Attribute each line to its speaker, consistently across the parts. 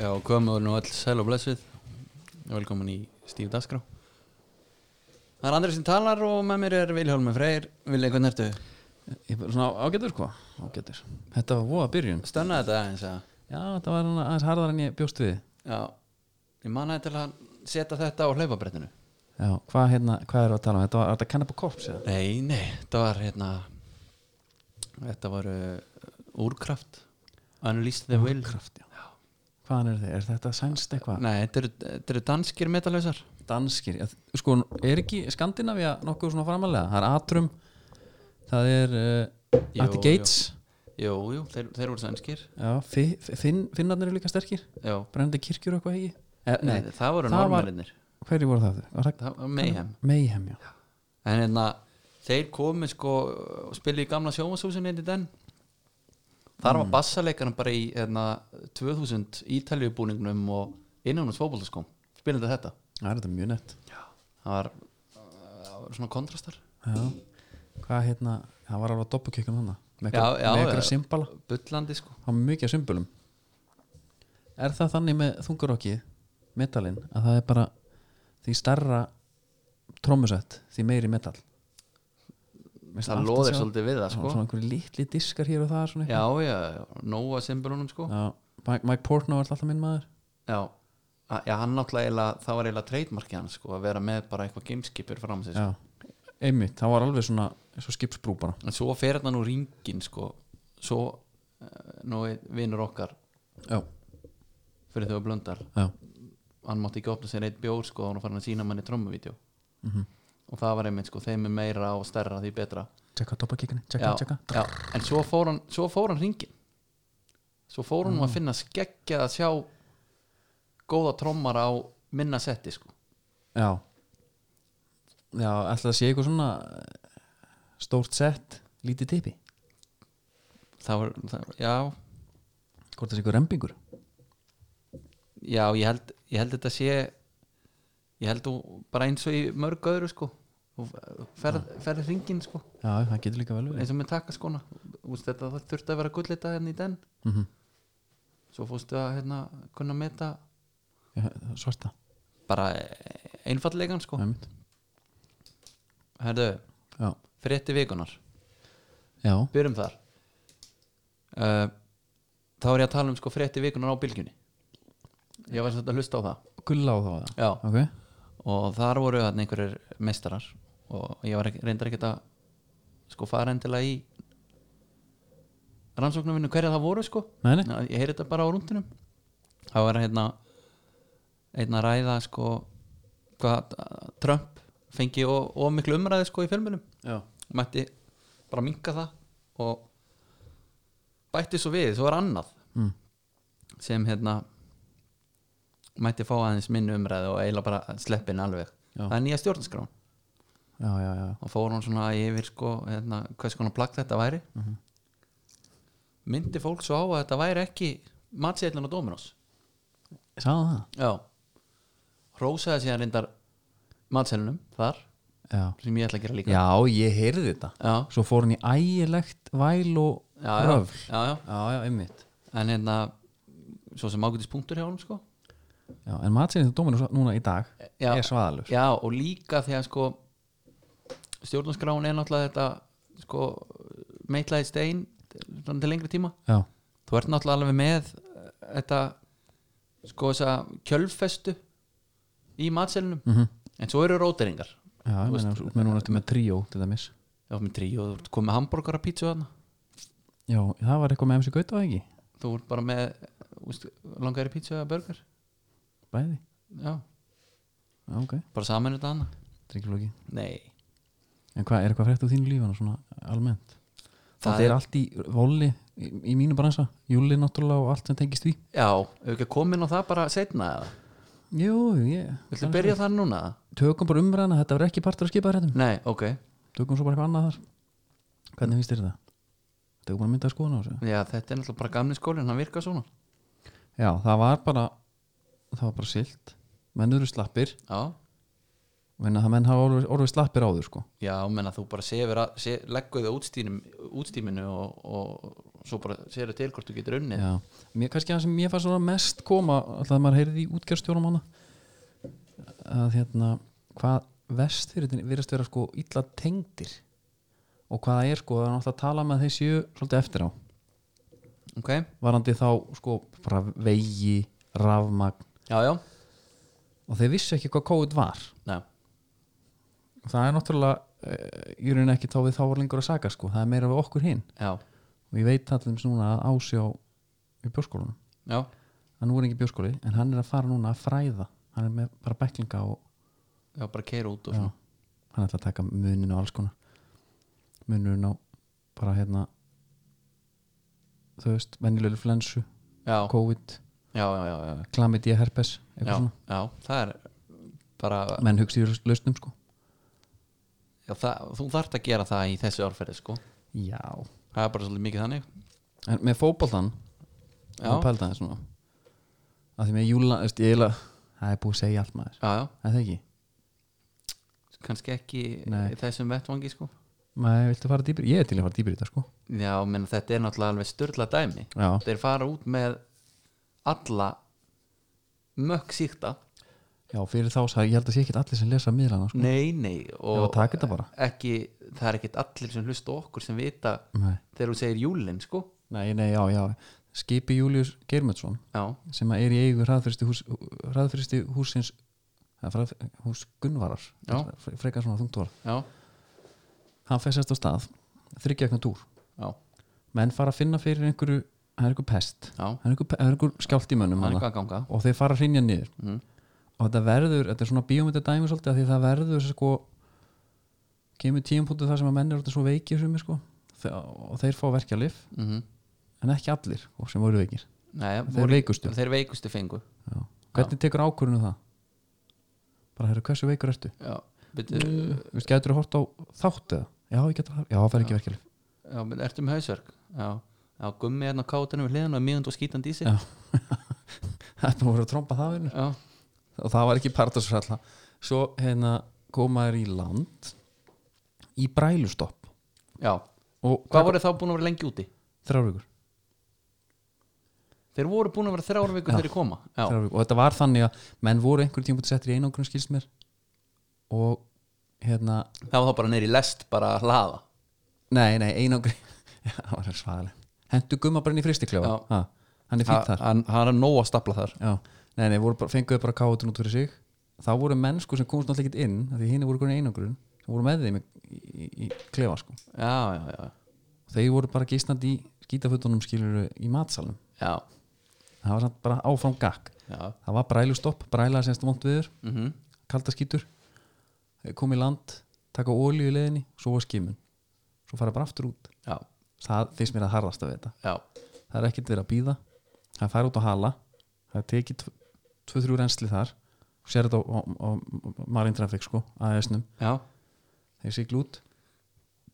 Speaker 1: Já, komur nú öll sæl og blessuð Velkomin í Stíf Dasgrá Það er Andrið sem talar og með mér er Vilhjálmur Freyr Vilja, hvernig ertu?
Speaker 2: Ég er bara svona ágætur sko ágætur. Þetta var voða byrjun
Speaker 1: Stönnaði þetta aðeins að
Speaker 2: Já, þetta var svona aðeins harðar en ég bjóst við
Speaker 1: Já, ég manna til að setja þetta á hlaupabrettinu
Speaker 2: Já, hvað hérna, hvað er að tala um? Þetta var, var þetta Cannibal Corpse eða?
Speaker 1: Nei, nei, þetta var hérna Þetta var uh, Úrkraft Unleash the Will
Speaker 2: Kraft, já Hvaðan eru þið? Er þetta sænst eitthvað?
Speaker 1: Nei, þetta eru, þetta eru danskir metalhausar
Speaker 2: Danskir, já, sko, er ekki Skandinavía nokkuð svona framalega? Það er Atrum Það er uh,
Speaker 1: Jú,
Speaker 2: Atti Gates
Speaker 1: Jú, jú, þeir, þeir voru sænskir
Speaker 2: Já, fi, fi- finn, Finnarnir eru líka sterkir
Speaker 1: Já,
Speaker 2: Brennandi kirkjur og eitthvað ekki eh, Nei,
Speaker 1: það voru
Speaker 2: það var-
Speaker 1: normarinnir
Speaker 2: hverju voru það? Var það
Speaker 1: Það var Mayhem
Speaker 2: Mayhem, já
Speaker 1: en hérna þeir komi sko og spili í gamla sjómasúsinu inn í den þar
Speaker 2: Mm.
Speaker 1: var bassalekarinn bara í hérna, 2000 ítaljubúningnum og innan hos fótboltaskóm spilandi þetta
Speaker 2: Það er þetta mjög nett
Speaker 1: það var, það var svona kontrastar
Speaker 2: Já, hvað hérna það var alveg að doppukjökkum þannig með
Speaker 1: Já, já,
Speaker 2: eitthvað
Speaker 1: já.
Speaker 2: simbala,
Speaker 1: bullandi sko
Speaker 2: það var mikið af symbolum Er það þannig með þungurokki metalin að það er bara því starra trómusett, því meiri metal Mér finnst
Speaker 1: það
Speaker 2: alltaf
Speaker 1: loðir
Speaker 2: sjá-
Speaker 1: svolítið við það
Speaker 2: Já,
Speaker 1: sko
Speaker 2: Svona einhverju litli diskar hér og það svona
Speaker 1: já, já, já, nóa symbolunum sko
Speaker 2: Já, Mike, Mike Portnow er alltaf minn maður
Speaker 1: já, A- já hann náttúrulega eiginlega- það var eiginlega treytmarkið hans sko að vera með bara eitthvað gameskipur fram sig sko.
Speaker 2: Já, einmitt, það var alveg svona eins og skipsbrú bara
Speaker 1: en svo fer hann úr ringin sko svo eh, nú er vinur okkar
Speaker 2: Já,
Speaker 1: fyrir þau að blöndar
Speaker 2: já,
Speaker 1: hann mátti ekki opna sér eitt bjór sko og hann fann að sína manni trommuvídeó
Speaker 2: Mhm.
Speaker 1: og það var einmitt sko þeim er meira og stærra því betra
Speaker 2: tjekka doppakjökkunni, tjekka,
Speaker 1: já,
Speaker 2: tjekka
Speaker 1: já, en svo fór hann, svo fór hann ringin svo fór hann
Speaker 2: Mm.
Speaker 1: að finna skeggja að sjá góða trommar á minna setti sko
Speaker 2: Já Já, ætla það sé eitthvað svona eh, stórt sett, lítið tipi
Speaker 1: það var, það, já,
Speaker 2: Hvort það sé eitthvað rembingur
Speaker 1: já ég held, ég held þetta sé ég held þú bara eins og í mörg öðru sko þú ferð, ferð ringin sko
Speaker 2: Já, það getur líka vel verið
Speaker 1: eins og með takaskona Úst, þetta það þurfti að vera gullita hérna í den
Speaker 2: mm
Speaker 1: svo fórstu að hérna kunna meta
Speaker 2: -hmm. Svarta,
Speaker 1: bara einfalllegan sko
Speaker 2: einmitt
Speaker 1: herðu,
Speaker 2: Já,
Speaker 1: frétti vikunar
Speaker 2: já,
Speaker 1: byrjum þar uh, þá er ég að tala um sko frétti vikunar á bylgjunni ég var svolítið að hlusta á það
Speaker 2: gulla á þá það
Speaker 1: já,
Speaker 2: Ok,
Speaker 1: og þar voru þarna einhverjir meistarar og ég var ekki, reyndar ekkert að sko fara endilega í rannsóknum minni hverja það voru sko
Speaker 2: nei, nei,
Speaker 1: Ná, ég heyri þetta bara á rúndinum það var hérna einn að ræða sko hvað uh, Trump fengi of of miklu umræði sko í fjölmunum
Speaker 2: já
Speaker 1: mætti bara minka það og bætti svo við, svo var annað
Speaker 2: mm.
Speaker 1: sem hérna mætti fá aðeins minni umræði og eiginlega bara sleppin alveg
Speaker 2: Já.
Speaker 1: það er nýja stjórnskrán
Speaker 2: Já, já, já,
Speaker 1: og fór hún svona yfir sko hérna, hvers konar plagg þetta væri
Speaker 2: Mhm.
Speaker 1: myndi fólk svo á að þetta væri ekki matsýðlun og Dominos
Speaker 2: sagði það
Speaker 1: Já Rósaði síðan reyndar matselunum þar
Speaker 2: Já,
Speaker 1: sem ég ætla að gera líka
Speaker 2: já ég heyrði þetta
Speaker 1: já,
Speaker 2: Svo fór hann í ægilegt væl og
Speaker 1: já, já,
Speaker 2: röfl
Speaker 1: já, já.
Speaker 2: Já, já, einmitt
Speaker 1: En hérna svo sem ágætis punktur hjá honum sko
Speaker 2: Já, en matsinni þú dóminu núna í dag
Speaker 1: Já.
Speaker 2: er svaðalur
Speaker 1: Já og líka þegar sko stjórnarskráin er náttúrulega þetta sko meitlaði stein svona til lengri tíma
Speaker 2: Já,
Speaker 1: þú ert náttúrulega alveg með eh, þetta sko þessa kjölfestu í matselunum
Speaker 2: mhm
Speaker 1: en svo eru róteringar
Speaker 2: Já, ég meina, þú meina hún eftir með tríó til dæmis
Speaker 1: Já, með trí og þú ert komið hambúrgara pítsu þarna
Speaker 2: Já, það var eitthvað með MC Gauta var það ekki
Speaker 1: þú ert bara með úst, langaðir í pítsu eða burger
Speaker 2: Bæði,
Speaker 1: já,
Speaker 2: já, ok,
Speaker 1: bara saman þetta annað
Speaker 2: þetta er ekki flóki
Speaker 1: nei,
Speaker 2: En hvað, er eitthvað frétt úr þínu lífana svona almennt? Það er allt í voli í, í mínu bransa Júli náttúrulega og allt sem tengist því
Speaker 1: já, hefur ekki komin á það bara setna eða,
Speaker 2: Jú, jú, ég
Speaker 1: viltu byrja þar núna
Speaker 2: Tökum bara umræðana, þetta var ekki partur að skipa þér
Speaker 1: nei, ok,
Speaker 2: Tökum svo bara eitthvað annað þar Hvernig finnst þér það? Þetta er bara að mynda að skoða á þessu
Speaker 1: já, þetta er náttúrulega bara gamli skólin hann virkar svona,
Speaker 2: Já, það var bara, það var bara silt Mennur eru slappir
Speaker 1: já,
Speaker 2: Menna, það menn hafa orðið, orðið slappir áður sko.
Speaker 1: Já, menna þú bara sefur að se, leggur þau útstíminu, útstíminu og, og svo bara sefur til hvort þú getur unnið
Speaker 2: Já. Mér, kannski það sem mér fannst svona mest koma alltaf að maður heyrði í útgjörstjónum hana að hérna hvað vestfyrirtin virðast vera sko illa tengdir og hvað það er sko það er náttúrulega að tala með þeir séu svolítið eftir á
Speaker 1: Ok,
Speaker 2: varandi þá sko bara vegi, rafmagn
Speaker 1: já, já
Speaker 2: og þeir vissu ekki hvað COVID var
Speaker 1: Nei.
Speaker 2: og það er náttúrulega eh, í rauninni ekki þá við þá var lengur að saga sko það er meira við okkur hinn
Speaker 1: Já,
Speaker 2: og ég veit allir um núna að ásjá í björskólanum
Speaker 1: já,
Speaker 2: hann voru ekki í björskóli en hann er að fara núna að fræða hann er með bara beklinga og
Speaker 1: já, bara keira út og
Speaker 2: já,
Speaker 1: svona
Speaker 2: hann ætla að taka munin og alls konar munurinn á bara hérna þú veist, venjulegur flensu
Speaker 1: Já,
Speaker 2: COVID,
Speaker 1: já, já, já, já.
Speaker 2: chlamydia herpes
Speaker 1: Já,
Speaker 2: eitthvað
Speaker 1: já, það er bara,
Speaker 2: svona, menn hugsi í laus- lausnum sko
Speaker 1: já, það, þú þarft að gera það í þessu árferði sko
Speaker 2: já,
Speaker 1: það er bara svolítið mikið þannig
Speaker 2: en með fótboltan
Speaker 1: Já.
Speaker 2: og pældaði svona að því með júla, veist, ég eiginlega það er búið að segja allt maður,
Speaker 1: já, já,
Speaker 2: það er það ekki
Speaker 1: kannski ekki
Speaker 2: Nei.
Speaker 1: í þessum vettvangi sko
Speaker 2: maður viltu fara dýpir, ég er til að fara dýpir í þetta sko
Speaker 1: já, menn þetta er náttúrulega alveg styrla dæmi
Speaker 2: já,
Speaker 1: þeir fara út með alla mökk síkta
Speaker 2: já fyrir þá, sagði- ég held að sé ekki allir sem lesa miðlana sko,
Speaker 1: nei, nei
Speaker 2: já,
Speaker 1: og
Speaker 2: taka þetta bara
Speaker 1: ekki, það er ekkit allir sem hlusta á okkur sem vita
Speaker 2: nei,
Speaker 1: þegar þú segir júlin sko
Speaker 2: nei, nei já, já skipi Július Geirmundsson
Speaker 1: já,
Speaker 2: sem að er í eigu hraðfyrsti, hús, hraðfyrsti húsins eða hraðf- hús Gunnvarar
Speaker 1: Já.
Speaker 2: fre- frekar svona þungtúr
Speaker 1: já,
Speaker 2: hann fessast á stað, þryggjökna túr
Speaker 1: já,
Speaker 2: menn fara að finna fyrir einhverju það er einhver pest,
Speaker 1: já
Speaker 2: það er einhver, það er einhver skjált í mönnum
Speaker 1: það er
Speaker 2: hana,
Speaker 1: eitthvað að ganga
Speaker 2: og þeir fara að hrinja niður
Speaker 1: mm.
Speaker 2: og þetta verður, þetta er svona bíómynda dæmi svolítið af því það verður sko kemur tíumpútið þar sem að menn er orðnir svo veikir sem sko, þe- og þeir fá verkja lif
Speaker 1: Mm
Speaker 2: en ekki allir sko, sem voru veikir,
Speaker 1: Nei,
Speaker 2: þeir
Speaker 1: voru,
Speaker 2: veikustu
Speaker 1: þeir veikustu fengu
Speaker 2: Já. hvernig tekur ákvörðinu það? bara herru, hversu veikur ertu?
Speaker 1: já, byrju,
Speaker 2: Þú veist, getur þú hort á þátt eða? Já, ég getur það, já, það fær ekki verkeflið
Speaker 1: Já, menn, ertu með hausverk? Já, já gummi hérna á kátunum við hliðan og miðund og skítandi í sig
Speaker 2: Já. Það er búin að vera að tromba það vinur
Speaker 1: já,
Speaker 2: og það var ekki partasfræðla svo hérna komaður í land í brælustopp
Speaker 1: já.
Speaker 2: og
Speaker 1: Hvað voru þá búin að vera lengi úti?
Speaker 2: þrjár vikur,
Speaker 1: Þeir voru búin að vera þrjár vikur þegar þeir koma Já,
Speaker 2: þrjár vikur og þetta var þannig að menn voru einhver tíma búin settir í einangrun skilst mér og hérna,
Speaker 1: það var þá bara neyri lest bara að hlaða
Speaker 2: nei, nei, einangrun það var svaðaleg hentu gumma bara inn í fristiklefa
Speaker 1: Já.
Speaker 2: Ha, hann er fýtt þar
Speaker 1: Hann hann er nóg að stapla þar
Speaker 2: Já, nei, nei, voru bara, fenguðu bara káðutun út fyrir sig þá voru menn sko sem komst náttúrulega ekkert inn af því hinn voru komin í einangrun sem voru með þeim í, í, í klefa sko
Speaker 1: Já, já, já,
Speaker 2: og þeir voru bara gistandi í skítafötunum skilur í matsalum
Speaker 1: já,
Speaker 2: það var samt bara áfram gakk
Speaker 1: já.
Speaker 2: það var brælustopp, bræla semst vond viður
Speaker 1: Mm
Speaker 2: kalda skítur Þeir komu í land, taka olíu í leiðinni svo var skimun, svo fara bara aftur út
Speaker 1: já,
Speaker 2: það finnst mér að harðast að þetta
Speaker 1: já,
Speaker 2: það er ekkert verið að býða það fær út á hala það tekið 2-3 reynsli þar og sér þetta á, á, á Marine Traffic sko, AS-num,
Speaker 1: já
Speaker 2: þeir sigla út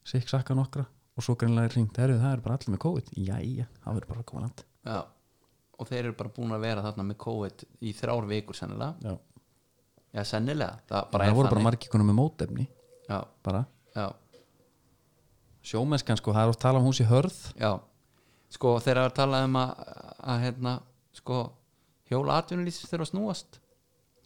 Speaker 2: sig sakka nokkra og svo greinlega er hringt erfið, það er bara allir með COVID jæja, það verður bara að koma land
Speaker 1: Já, og þeir eru bara búin að vera þarna með COVID í þrjár vikur sennilega
Speaker 2: Já.
Speaker 1: Já, sennilega, það bara
Speaker 2: það
Speaker 1: er
Speaker 2: voru bara
Speaker 1: þannig
Speaker 2: margir konum með mótefni
Speaker 1: Já,
Speaker 2: bara,
Speaker 1: já,
Speaker 2: sjómennskan sko, það er oft tala um hús í hörð
Speaker 1: já Sko, þeir eru að tala um að, að hérna, sko hjóla atvinnulýsins þeirra snúast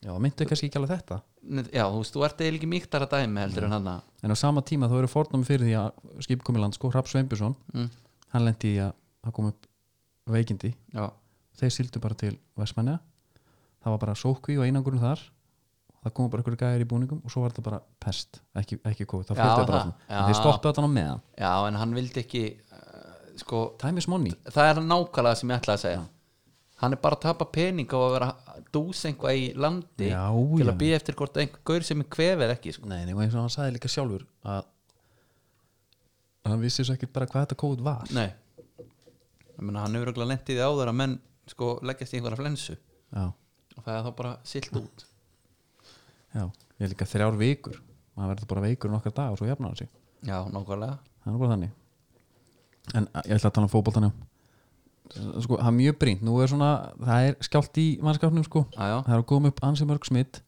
Speaker 2: já, myndu kannski ekki alveg þetta
Speaker 1: Nei, Já, þú veist, þú ert eiginlega ekki mýktar að dæmi heldur en hann að
Speaker 2: en á sama tíma þá eru fórnum fyrir því að skip komið land sko, Rapp Sveinbjörnsson
Speaker 1: mm,
Speaker 2: hann lendi í að það kom upp veikindi
Speaker 1: Já,
Speaker 2: þeir sildu bara til Vestmanna það var bara sókví og einangrun þar það komu bara ykkur gæðir í búningum og svo var þetta bara pest, ekki, ekki COVID það
Speaker 1: Já,
Speaker 2: fljótaði bara
Speaker 1: það.
Speaker 2: áfram,
Speaker 1: Já.
Speaker 2: En þeir stoppuðu þetta á meðan
Speaker 1: já, en hann vildi ekki uh, sko,
Speaker 2: time is money
Speaker 1: það er nákvæmlega sem ég ætla að segja Hann er bara að tapa pening á að vera að dús einhvað í landi
Speaker 2: Já,
Speaker 1: til
Speaker 2: já.
Speaker 1: að býja eftir hvort einhver gaur sem er kvefið ekki sko.
Speaker 2: nei, nei, og eins og hann sagði líka sjálfur að að hann vissi svo ekkert bara hvað þetta COVID var
Speaker 1: Nei Ég meina, Hann hefur örugglega lent í því áður að menn sko, leggjast í einhverja flensu
Speaker 2: já,
Speaker 1: og það er þá bara silt út
Speaker 2: já, ég er líka þrjár vikur maður verður bara veikur nokkar dag og svo jafnar hann sig
Speaker 1: Já, nákvæmlega
Speaker 2: það er bara þannig en a- ég ætla að tala um fótboltan já sko, það er mjög brýnt, nú er svona það er skjált í mannskapnum sko
Speaker 1: Já, já,
Speaker 2: það er að koma upp ansi mörg smitt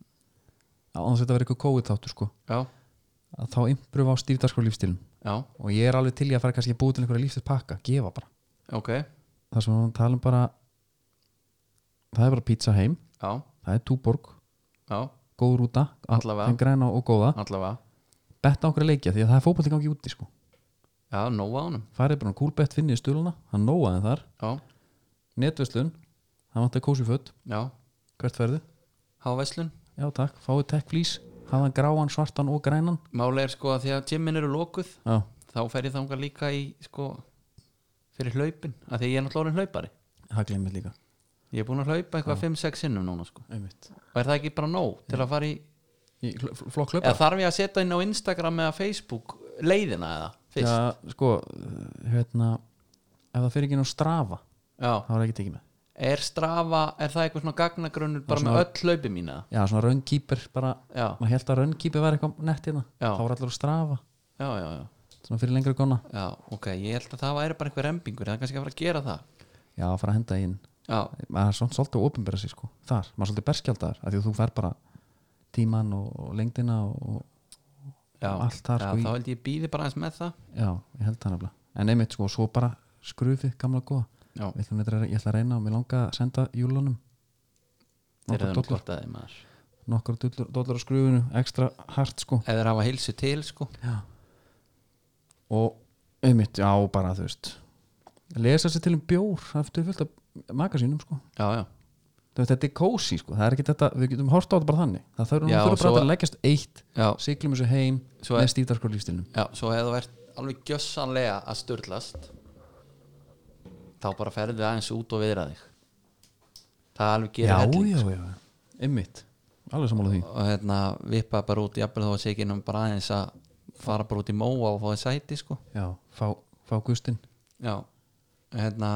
Speaker 2: að þess að þetta verið eitthvað COVID-þáttur sko
Speaker 1: já,
Speaker 2: að þá impröfa á stífdarskóð lífstilum
Speaker 1: já,
Speaker 2: og ég er alveg til í að fara kannski að búið til einhverja lífstil gefa bara,
Speaker 1: ok
Speaker 2: það sem við talum um bara það er bara pizza heim
Speaker 1: já,
Speaker 2: það er túborg,
Speaker 1: já,
Speaker 2: góð rúta
Speaker 1: Allavega.
Speaker 2: en græna og góða,
Speaker 1: allavega
Speaker 2: betta á okkur að leikja því að það er fótbolti gangi úti sko
Speaker 1: já, nóa ánum,
Speaker 2: farið bara á kúlbett finnið stöluna, hann nóaði þar
Speaker 1: já,
Speaker 2: netverslun, það vantar kósi föt
Speaker 1: já
Speaker 2: hvert ferðu,
Speaker 1: háveslun,
Speaker 2: já takk, fáið tech flís hafaðan gráan, svartan og grænan
Speaker 1: máli er sko að því að gymmin eru lokuð
Speaker 2: já,
Speaker 1: þá fer ég þangað líka í sko fyrir hlaupin, af því að ég er náttúrulega orðinn hlaupari
Speaker 2: það glemir líka
Speaker 1: ég er búin að hlaupa eitthvað 5-6 sinnum núna sko
Speaker 2: einmitt,
Speaker 1: og er það ekki bara nóg til að fara í
Speaker 2: í hl- fl- flokk hlaupa
Speaker 1: eða þarf ég að setja inn á Instagram eða Facebook leiðina eða fyrst já,
Speaker 2: Já, sko, uh, hérna ef það fyrir ekki nú strafa þá er ekki tekið með
Speaker 1: er strafa, er það eitthvað svona gagnagrunnur bara með öll hlaupi mín eða
Speaker 2: Já, svona rönnkýper bara
Speaker 1: já,
Speaker 2: maður held að rönnkýper var eitthvað nett hérna
Speaker 1: Já.
Speaker 2: þá var allir að strafa
Speaker 1: já, já, já,
Speaker 2: svona fyrir lengra góna
Speaker 1: já, ok ég held að það væri bara einhver rembingur, það er kannski að fara að gera það
Speaker 2: Já, að fara að henda í inn
Speaker 1: já,
Speaker 2: maður er svona svolítið að opinbera sig sko þar, maður er svolítið berskjaldar af því að þú fer bara tíman og, og lengdina og,
Speaker 1: já,
Speaker 2: Allt þar,
Speaker 1: já
Speaker 2: sko, í-
Speaker 1: þá held ég býði bara aðeins með það
Speaker 2: já, ég held það nefnilega en einmitt sko, svo bara skrufið gamla góða
Speaker 1: já,
Speaker 2: Við ætlum þetta að- ég ætla að reyna og mér langa að senda júlunum
Speaker 1: þeir eru
Speaker 2: nokkur
Speaker 1: það
Speaker 2: dollur,
Speaker 1: gott að þeim maður
Speaker 2: nokkur dollur, dollur á skrufinu ekstra hart sko
Speaker 1: eða hafa hilsu til sko
Speaker 2: já. og einmitt, já bara þú veist lesa sér til um bjór það er fullt af magasínum sko
Speaker 1: já, já,
Speaker 2: Þú veist, þetta er kósi sko, það er ekki þetta við getum horta á þetta bara þannig, það þurfum
Speaker 1: Já,
Speaker 2: já, þurfum bara
Speaker 1: svo-
Speaker 2: að leggjast eitt,
Speaker 1: já,
Speaker 2: siglum þessu heim
Speaker 1: Svo-
Speaker 2: með stífdarskór lífstilnum
Speaker 1: já svo hefðu verið alveg gjössanlega að sturlast þá bara ferðu aðeins út og viðra þig það alveg gerir helling, sko.
Speaker 2: já, já, einmitt alveg sammála því,
Speaker 1: og hérna vippa bara út jafnvel þó að sé ekki nefnum bara aðeins að fara bara út í móa og fá þið sæti sko
Speaker 2: já, fá, fá gustin
Speaker 1: já, hérna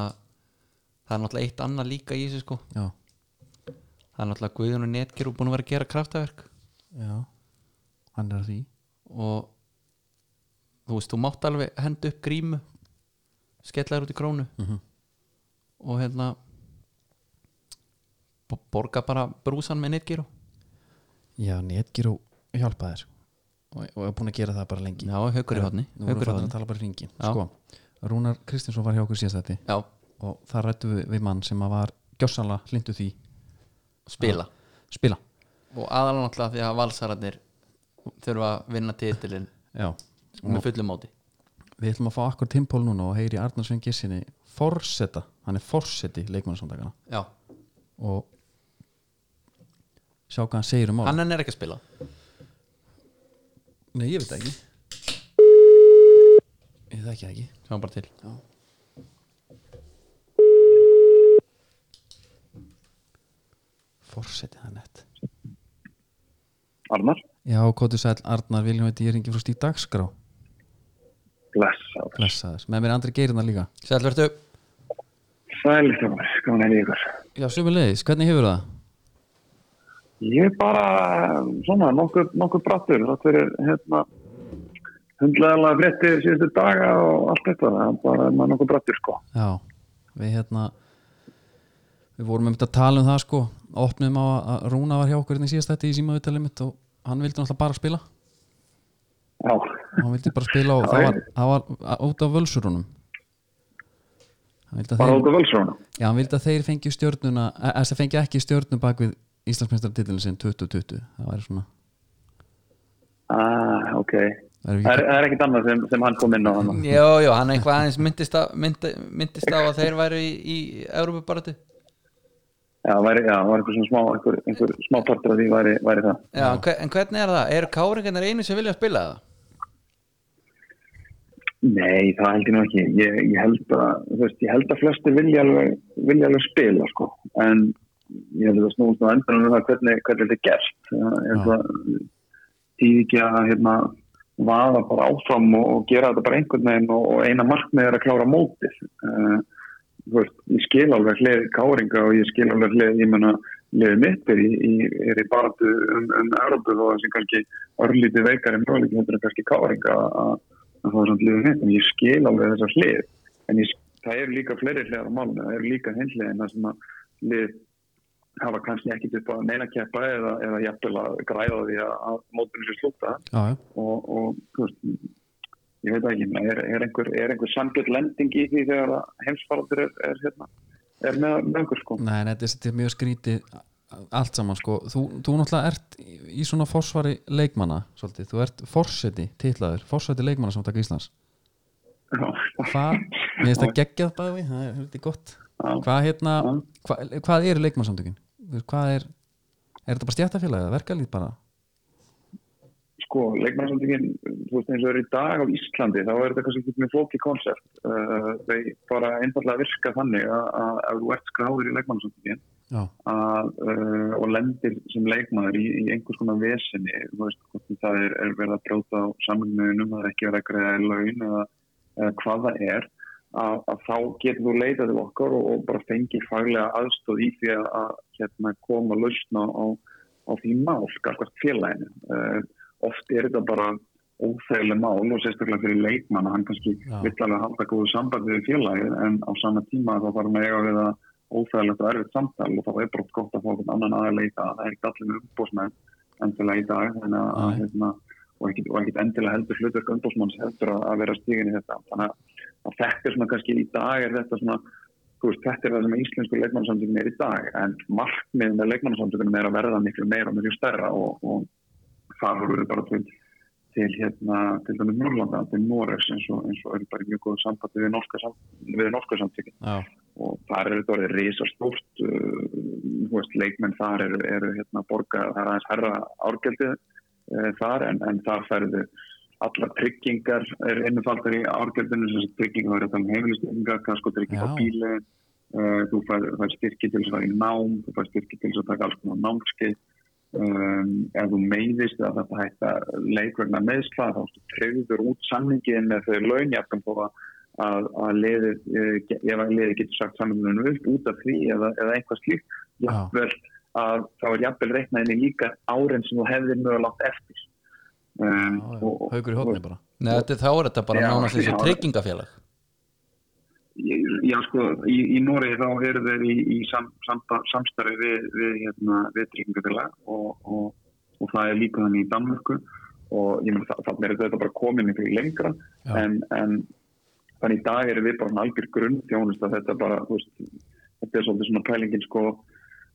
Speaker 1: það er náttúrulega eitt annað líka í þessu sko
Speaker 2: já,
Speaker 1: það er náttúrulega Guðjón og Netgeru búin að vera að gera kraftaverk
Speaker 2: já hann er að því,
Speaker 1: og þú veist, þú mátt alveg henda upp grímu skella þér út í krónu
Speaker 2: Mhm.
Speaker 1: og hérna bo- borga bara brúsan með netgíru
Speaker 2: já, netgir og hjálpa þér sko. og, og er búin að gera það bara lengi
Speaker 1: já, haukur í hodni
Speaker 2: Nú erum við
Speaker 1: haukur í
Speaker 2: farin að
Speaker 1: hodni
Speaker 2: tala bara í ringin
Speaker 1: Já.
Speaker 2: sko, Rúnar Kristinsson var hjá okkur síðast þetta
Speaker 1: já,
Speaker 2: og þar rættu við, við mann sem að var gjörsanlega hlindu því
Speaker 1: spila
Speaker 2: spila
Speaker 1: og aðalega náttúrulega því að valsararnir þurfa að vinna titilin
Speaker 2: Já.
Speaker 1: með fullum móti
Speaker 2: Við ætlum að fá akkur timpól núna og heyri Arnarsson Gissinni forseta, hann er forseti leikmannasamtakana
Speaker 1: já,
Speaker 2: og sjá hvað hann segir um mál
Speaker 1: hann enn er ekki að spila
Speaker 2: Nei, ég veit það ekki Ég veit það ekki ekki
Speaker 1: sjáum bara til
Speaker 2: Forseti, það er nett
Speaker 3: Arnar,
Speaker 2: Já, Kóti Sæll, Arnar, Viljum veit ég ringi frá Stíf Dagskrá
Speaker 3: blessaður.
Speaker 2: Blessaður, með mér er Andri Geirina líka
Speaker 1: sælvertu,
Speaker 3: Sælir þjómar, gaman að heyra í ykkur.
Speaker 2: Já, sömulegis, hvernig hefur það?
Speaker 3: Ég er bara um, svona nokkuð, nokkuð brattur, þátt fyrir hérna hundlegalega fréttir síðustu daga og allt þetta, það er bara maður nokkuð brattur sko.
Speaker 2: Já, við hérna við vorum einmitt að tala um það sko opnum á að Rúna var hjá okkur hérna í síðast þetta í símaðutalið mitt og hann vildi náttúrulega bara spila
Speaker 3: Já,
Speaker 2: hann vildi bara spila og
Speaker 3: Já,
Speaker 2: það var,
Speaker 3: ég-
Speaker 2: það var að- út af völsurunum hann vildi að
Speaker 3: bara
Speaker 2: þeir,
Speaker 3: út af völsrónu.
Speaker 2: já, hann vildi að þeir fengju stjörnuna þess að fengju ekki stjörnu bak við Íslandsmeistartitilin sinn 2020 það væri svona
Speaker 3: Ah, ok.
Speaker 2: það
Speaker 3: Það
Speaker 2: er,
Speaker 3: er, það er ekkit annað sem, sem hann kom inn á hann.
Speaker 1: jú, jú, hann eitthvað aðeins myndist á, myndi, myndist á að þeir væru í, í Európa-baratu
Speaker 3: Já, það væri, já, það var einhver svona smá, einhver, einhver smá partur af því væri, væri það.
Speaker 1: Já, en hve- en hvernig er það? Eru káringarnir einu sem vilja spila það?
Speaker 3: Nei, það held ég nú ekki. Ég, ég, held, að, þú veist, ég held að flestir vilja alveg, vilja alveg spila, sko. En ég held að það snúast á endanum um það hvernig, hvernig þetta er gert. Það- Ég held að tíð ekki að hérna, vaða bara áfram og, og gera þetta bara einhvern veginn og, og eina markmið er að klára mótið. Uh, þú veist, ég skil alveg hlið káringa og ég skil alveg hlið, ég menna, liðið mitt er í, í, er í baratu um, um Európu og þessi kannski örlítið veikari möguleik heldur en kannski káringa að að það er samt liðið mitt en ég skil alveg þessar hlið en ég, það eru líka fleiri hliðar á málunum, það eru líka hinliðina sem að lið hafa kannski ekkit upp að neina keppa eða, eða jafnvel að græða því að, að mótunum sér slúta
Speaker 2: já, já,
Speaker 3: og, og þú veist, ég veit það ekki, ég meina, er, er einhver, er einhver samgjörn lending í því þegar að heimsfaraldur er, er, hérna, er með, með okkur sko.
Speaker 2: nei, nei, þetta er- þetta er mjög skrítið allt saman sko, þú, þú náttúrulega ert í í svona forsvari leikmanna svolítið, þú ert forseti titlaður forseti leikmanna samtaka Íslands
Speaker 3: Já.
Speaker 2: hvað, mér finnst það geggjað bæði, það er heldur gott
Speaker 3: Já.
Speaker 2: hvað hérna,
Speaker 3: Já.
Speaker 2: hva, hvað eru leikmannsamtökin Þú veist, hvað er er þetta bara stjættafélagið, verkalýð bara
Speaker 3: Sko, leikmannsamtökin, þú veist eins og er í dag á Íslandi, þá er þetta kannski ekki með flóki konsept. Uh, þau bara einfallega virka þannig að, að ef þú ert skráður í leikmannsamtökin
Speaker 2: já,
Speaker 3: að, uh, og lendir sem leikmaður í, í einhvers konar vesinni þú veist, hvort sem það er, er verið að brjóta á samlunum, það er ekki verið að greiða í laun eða, eða hvað það er að, að þá getur þú leitað til okkar og, og bara fengið faglega aðstóð í því að, að hérna, koma lausna á, á því mál skakvart félaginu uh, oft er þetta bara óþægileg mál og sérstaklega fyrir leikmann að hann kannski
Speaker 2: Já.
Speaker 3: vill alveg halda góðu sambandi við félagið en á sama tíma þá þarf hann að eiga við að óþægilegt og erfitt samtal og þá er bara gott að fá einhvern annan aðeins leita það er ekkert allir með umbósmenn endilega í dag þannig að- að
Speaker 2: Nei.
Speaker 3: hérna, og ekkert og ekkert endilega heldur hlutverk umbósmanns heldur að, að vera stígin í þetta þannig að, að þetta er svona kannski í dag er þetta svona þú veist, þetta er það sem íslensku leikmannsamtökunum er í dag en markmið með leikmannsamtökunum er að verða miklu meira og miklu stærra og, og þar voru við bara til til hérna, til dæmis Norrlanda, til Noregs eins og, eins og er bara í mjög góð sambandi við norska, sam, við norska samtökin
Speaker 2: já,
Speaker 3: og þar er þetta orðið risastórt uh, þú veist, leikmenn þar eru, eru hérna borga, það er aðeins herra árgjaldið uh, þar en, en þar færðu allar tryggingar er innfaldar í árgjaldinu sem sagt tryggingar verður þannig heimilistryggingar, kaskotryggingar
Speaker 2: Já.
Speaker 3: bíli uh, þú fær, fær styrki til þess að fara í nám, þú fær styrki til þess að taka alls konar námskeið um, ef þú meiðist að þetta hætta leik vegna meðsla þá ertu treyður út samningin með þau launjafnum þó að að, að liði, ef að liði getur sagt samlingunum upp út af því eða, eða eitthvað slíkt,
Speaker 2: Já.
Speaker 3: jafnvel að þá er jafnvel reiknaðinni líka árin sem þú hefðir mögulegt eftir um,
Speaker 2: já, já. haugur í hóðni bara
Speaker 1: Nei, þetta, þá er þetta bara
Speaker 3: Já,
Speaker 1: nánast þessi
Speaker 3: já.
Speaker 1: tryggingafélag
Speaker 3: Já, sko, í, í Noregi þá eru þeir í, í sam, sam, samstarfi við, við, hérna, við tryggingafélag og, og, og það er líka þannig í Danmörku og ég meina það, það er þetta bara komin miklu lengra
Speaker 2: Já.
Speaker 3: en, en þannig í dag erum við bara svona algjör grunn þjónust að þetta bara, þú veist, þetta er svolítið svona pælingin sko,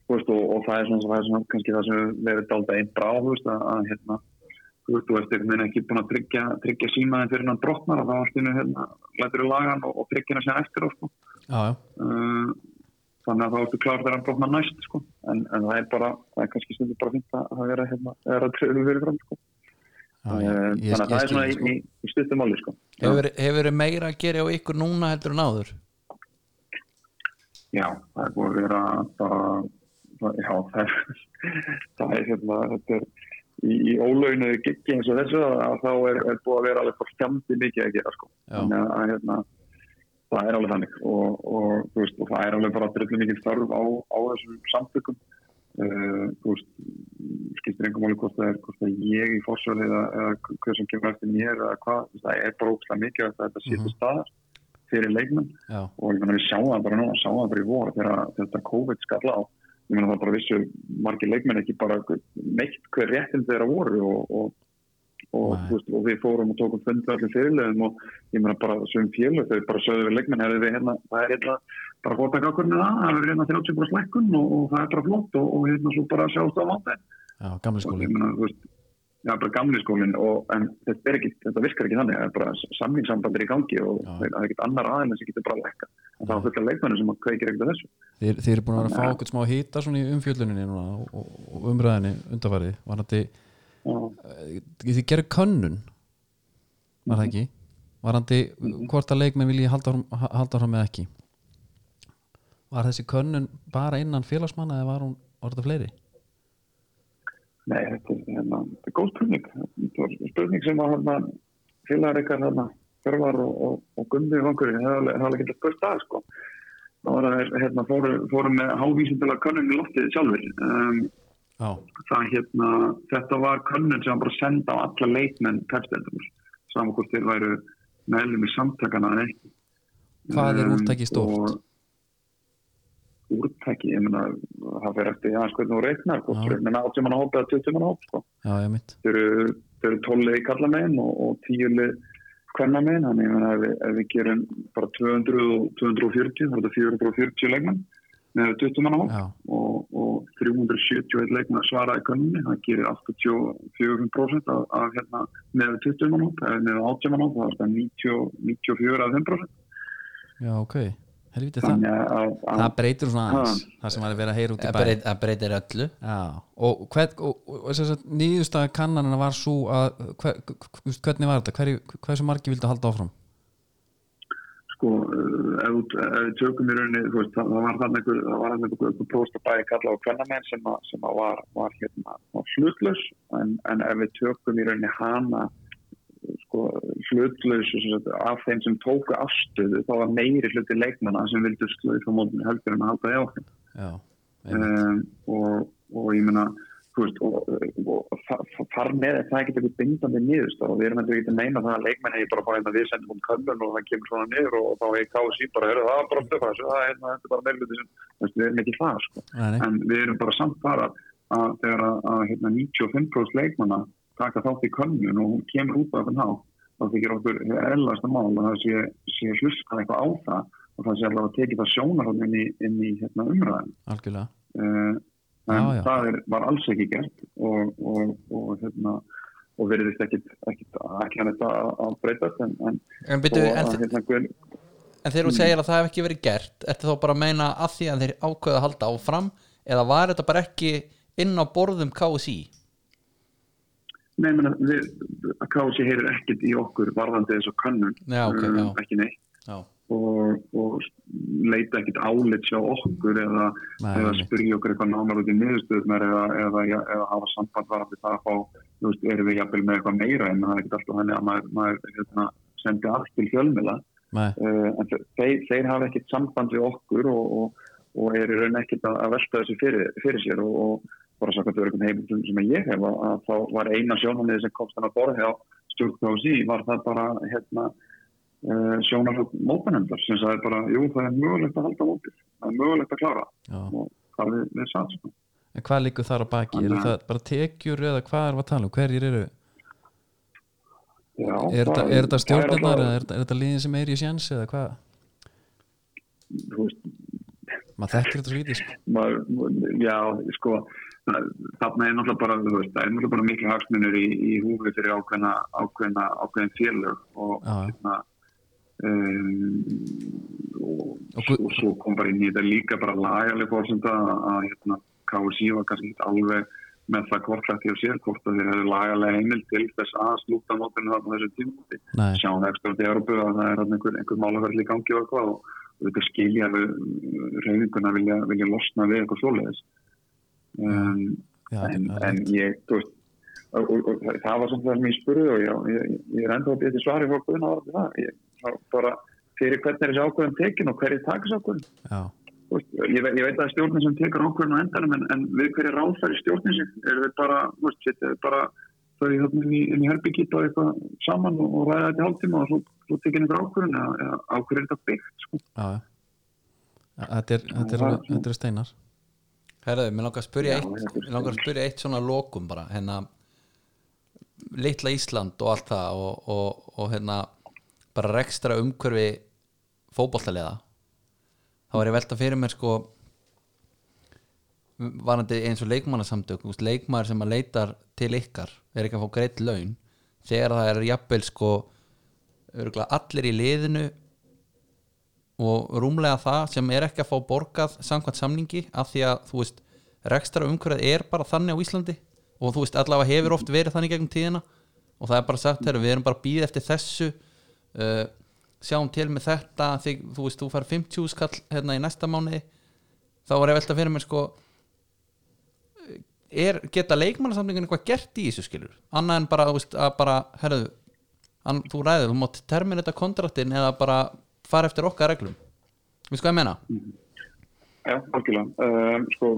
Speaker 3: þú veist, og, og það er svona, það er svona kannski það sem við erum dálta einn brá, þú veist, að, að hérna, þú veist, þú veist, einhvern veginn ekki búin að tryggja, tryggja símaðin fyrir hann brotnar og þá allt innu, hérna, lætur við lagan og, og tryggja hann sér eftir á, sko.
Speaker 2: já, já,
Speaker 3: Uh, þannig að þá ertu klar þegar hann brotnar næst, sko. En, en það er bara, það er kannski stundur bara fint að það vera, hérna, það er að tröðu fyrir fram, sko.
Speaker 2: já,
Speaker 3: Uh,
Speaker 2: já. Ég- ég
Speaker 3: þannig að það er
Speaker 2: skil
Speaker 3: svona
Speaker 2: þig, sko.
Speaker 3: í, í, í stuttum máli, sko.
Speaker 1: Hefur hefur verið meira að gera á ykkur núna heldur en áður?
Speaker 3: Já, það er búið að vera bara, það- já, það er, það er hérna, þetta er í, í ólaunuðu giggi eins og þessu að þá er, er búið að vera alveg bara skjandi mikið að gera, sko.
Speaker 2: Já.
Speaker 3: Þannig að, að hérna, það er alveg þannig og, og, þú veist, og það er alveg bara dröfnum mikið þörf á, á þessum samtökum. Uh, þú veist, skiptir engum alveg hvort það er, hvort það er ég í fórsvöld eða, eða hver sem kemur eftir mér eða hvað, þú veist, það er bara ógstlega mikið að þetta sé til staðar fyrir leikmenn
Speaker 2: já,
Speaker 3: og ég meina við sjáum það bara nú, sjáum það bara í vor þegar þetta COVID skall á ég meina það bara vissu margir leikmenn ekki bara neitt hver réttin þeirra voru og, og, og,
Speaker 2: Nei.
Speaker 3: þú veist, og við fórum og tókum fundu allir fyrirlegum og ég meina bara sem félög þegar bara sögðu við leikmenn herðu við hérna, það er hérna bara fórtak ákvörðinu það, það er hérna 30 bara slekkun og, og það er bara flott og, og hérna svo bara sjást á mándi
Speaker 2: já, gamli
Speaker 3: og
Speaker 2: skóli
Speaker 3: ég meina þú veist Já, bara gamli skólinn og en þetta, er ekki, þetta virkar ekki þannig, það er bara samlingssambandir í gangi og
Speaker 2: Já.
Speaker 3: það er ekkert annar aðeins sem getur bara að lekka. Og það
Speaker 2: Já.
Speaker 3: er fullt af leikmennir sem að kveikir ekkert af þessu.
Speaker 2: Þeir, þeir eru búin að vera að fá
Speaker 3: Þannig að-
Speaker 2: okkur smá hýta svona í umfjölluninni núna og- og, og umræðinni undarfærið var þetta Eh, þið gerir könnun var
Speaker 3: Mhm.
Speaker 2: það ekki var hann hvort að leikmenn vilji halda honum- ha- halda hann með ekki var þessi könnun bara innan félagsmanna eða var hún var þetta fleiri
Speaker 3: Nei, þetta er, hérna, þetta er góð spurning. Þetta var spurning sem að hérna, félagar ykkar hérna, Hjörvar og, og, og Gundi vangur, það er alveg- það er alveg ekki spurt að sko. Það var að þeir, hérna, fóru, fóru með hávísindilega könnun í loftið sjálfur. Um,
Speaker 2: já,
Speaker 3: það, hérna, þetta var könnun sem var bara senda á alla leikmenn pepstendumur. Saman hvort þeir væru meðlum í samtakana en ekki.
Speaker 2: Hvað er
Speaker 3: Um,
Speaker 2: úrtakið stórt?
Speaker 3: og- úrtæki, ég meina það fer eftir aðeins hvernig þú reiknar sko, hvort
Speaker 2: Já.
Speaker 3: þú reiknar 80 manna hóp eða 20 manna hóp sko.
Speaker 2: já, ég mitt
Speaker 3: þau eru, þau eru 12 lið í kallamegin og, og 10 lið hvernamegin þannig ég meina ef, við- ef við gerum bara 200 og 240 þá er þetta 440 leikmenn með 20 manna hóp
Speaker 2: já,
Speaker 3: og, og 371 leikmenn svara í könninni, það gerir 84% af, af hérna með 20 mann hóp, eða með 80 mann hóp þá er þetta 90 94 af 5%
Speaker 2: já, ok helviti það,
Speaker 3: þannig að, að Ah.
Speaker 2: það breytir svona aðeins
Speaker 3: Ha.
Speaker 2: það sem var að vera að heyra út í
Speaker 1: Það
Speaker 2: bæ
Speaker 1: breytir, það breytir öllu
Speaker 2: já, og, hvern, og, og, og þess að nýðustæða kannanina var svo að hver, hver, hvernig var þetta, Hverju- hversu margi vildi halda áfram
Speaker 3: sko, eh, ef, þú- ef við tökum í rauninni, þú veist, það, það var þarna einhver, það var þarna einhver, einhver próst að bæði kalla á kvennamenn sem, að, sem að var, var hérna var hlutlaus, en, en ef við tökum í rauninni hana eh, sko, hlutlaus sem sagt, af þeim sem tóku afstöðu, þá var meiri hluti leikmanna sem vildu slöifa mótinu heldur en að halda í áfram
Speaker 2: já, einmitt.
Speaker 3: um, og, og ég meina þú veist, og, og, og þa- þa- þar með er það getur ekki bindandi niðurst og við erum ekki að meina það að leikmenn hefur bara fáið að við sendum um könnun og það kemur svona niður og, þá er KSI bara, heyrðu, það er bara það er bara, það er bara meðluti sem þú veist, við erum ekki það sko
Speaker 2: Nei, nei.
Speaker 3: en við erum bara samt bara að þegar að, að hérna, 95% leikmanna taka þátt í könnun og hún kemur út af þann hátt þá þykir okkur erlaðasta mál að það sé, sé hlustað eitthvað á það og það sé allavega að tekið það sjónarhótt inn í, inn í hérna, umræðan
Speaker 2: algjörlega
Speaker 3: uh, en
Speaker 2: Já, já.
Speaker 3: það er, var alls ekki gert og, og, og, hérna, og verðist ekkit, ekkit ekki hann þetta að- að breytast en, en,
Speaker 1: En, byrju,
Speaker 3: og,
Speaker 1: en,
Speaker 3: að,
Speaker 1: þi-
Speaker 3: hérna, Guðn,
Speaker 1: en þegar þú segir að það hef ekki verið gert Ertu þá bara að meina að því að þeir ákveða að halda áfram Eða var þetta bara ekki inn á borðum KSI
Speaker 3: Nei, ég meina, við, KFC heyrir ekkit í okkur varðandi þessu kannun,
Speaker 1: Já, ok,
Speaker 3: eh,
Speaker 1: já.
Speaker 3: ekki neitt
Speaker 1: Já,
Speaker 3: og, og leita ekkit álit hjá okkur eða,
Speaker 2: Nei,
Speaker 3: eða
Speaker 2: einmitt.
Speaker 3: spyrja okkur eitthvað námar út í niðurstöðunar eða, eða, eða, eða hafa samband varandi það að fá, þú veist, erum við jafnvel með eitthvað meira en það er ekkit alltaf þannig að maður, maður hérna, sendi allt til fjölmila
Speaker 2: Nei,
Speaker 3: uh, en þe- þeir, þeir hafa ekkert samband við okkur og, og, og eru raun ekkert að, að velta þessu fyrir, fyrir sér og, og bara sagt að það eru einhvern heimildum sem ég hef að, að þá var eina sjónamið sem komst hann að borða hjá stjórnkvási var það bara hérna, uh, sjónarhug mótanendar sem sagði bara, jú það er mögulegt að halda mótið, það er mögulegt að klára
Speaker 2: já
Speaker 3: og það við, við satt sko.
Speaker 2: En hvað liggur þar á baki? Er
Speaker 3: Þannig að-
Speaker 2: það bara tekjur eða hvað er að tala um? Hverjir eru?
Speaker 3: Já,
Speaker 2: Er þetta-
Speaker 3: það-
Speaker 2: er þetta
Speaker 3: það er
Speaker 2: stjórnirnar
Speaker 3: alltaf-
Speaker 2: eða er þetta- er þetta liðin sem er í sjans eða hvað?
Speaker 3: þú veist,
Speaker 2: Maður þekkir þetta svo lítið sko.
Speaker 3: maður, já, sko það- þarna er náttúrulega bara, þú veist, það er náttúrulega bara miklu hagsmunir í, í húfi fyrir ákveðna, ákveðna, ákveðin félög og
Speaker 2: Já, já.
Speaker 3: hérna um, og,
Speaker 2: Og
Speaker 3: og,
Speaker 2: Guð-
Speaker 3: svo kom bara inn í þetta líka bara lagaleg fórsenda að hérna, KSI var kannski ekki alveg með það hvort hlætti á sér, hvort að þeir hefðu lagalega heimil til þess að slúta mótinu þarna á þessu tímúti
Speaker 2: Nei,
Speaker 3: sjáum við ekstra út í Európu að það er þarna einhver, einhver málaverðli í gangi og eitthvað og og þetta skilja við reyfinguna uh, vilja, vilja losna við eitthvað svoleiðis um,
Speaker 2: já,
Speaker 3: en,
Speaker 2: það er
Speaker 3: en
Speaker 2: rétt.
Speaker 3: ég þú veist og, og, og, það- það var samt það sem ég spurði og ég, ég, ég er enda að byrja svari frá Guðna og það ég, þá bara fyrir hvernig er þessi ákvörðum tekin og hverju takis ákvörðum
Speaker 2: Já,
Speaker 3: Þú veist, ég, ve- ég veit að það er stjórnin sem tekur ákvörðun á endanum en, en við hverju ráðfæri stjórnin sem eru við bara, þú veist, setja við bara þau hérna inn í, inn í herbyggít og eitthvað saman og, og ræða þetta í hálftíma og svo, svo tekin eitthvað ákvörðun eða, eða ákvörður þetta byggt sko.
Speaker 2: já, já. Þetta er, þetta er, alveg- þetta er steinar.
Speaker 1: herraðu, mér langar að spyrja
Speaker 3: Já,
Speaker 1: eitt
Speaker 3: þetta er
Speaker 1: Mér langar að spyrja eitt svona lokum bara Hérna Litla Ísland og allt það og, og, og hérna bara rekstra umhverfi fótboltaliða þá var ég að velta fyrir mér sko varandi eins og leikmannasamtök þú veist, leikmaður sem að leitar til ykkar er ekki að fá greitt laun þegar það er jafnvel sko örugglega allir í liðinu og rúmlega það sem er ekki að fá borgað samkvæmt samningi af því að þú veist rekstra umhverfið er bara þannig á Íslandi og þú veist allavega hefur oft verið þannig gegnum tíðina og það er bara sagt þegar við erum bara býð eftir þessu uh, sjáum til með þetta því, þú veist þú fær 50 skall hérna í næsta mánuði þá var ég velta fyrir mér sko er, geta leikmannasamningun eitthvað gert í þessu skilur annað en bara, þú veist, að bara herðu, hann, þú ræður, þú mátt terminita kontraktin eða bara fara eftir okkar reglum við sko að menna
Speaker 3: Já, algjörlega. Um, sko,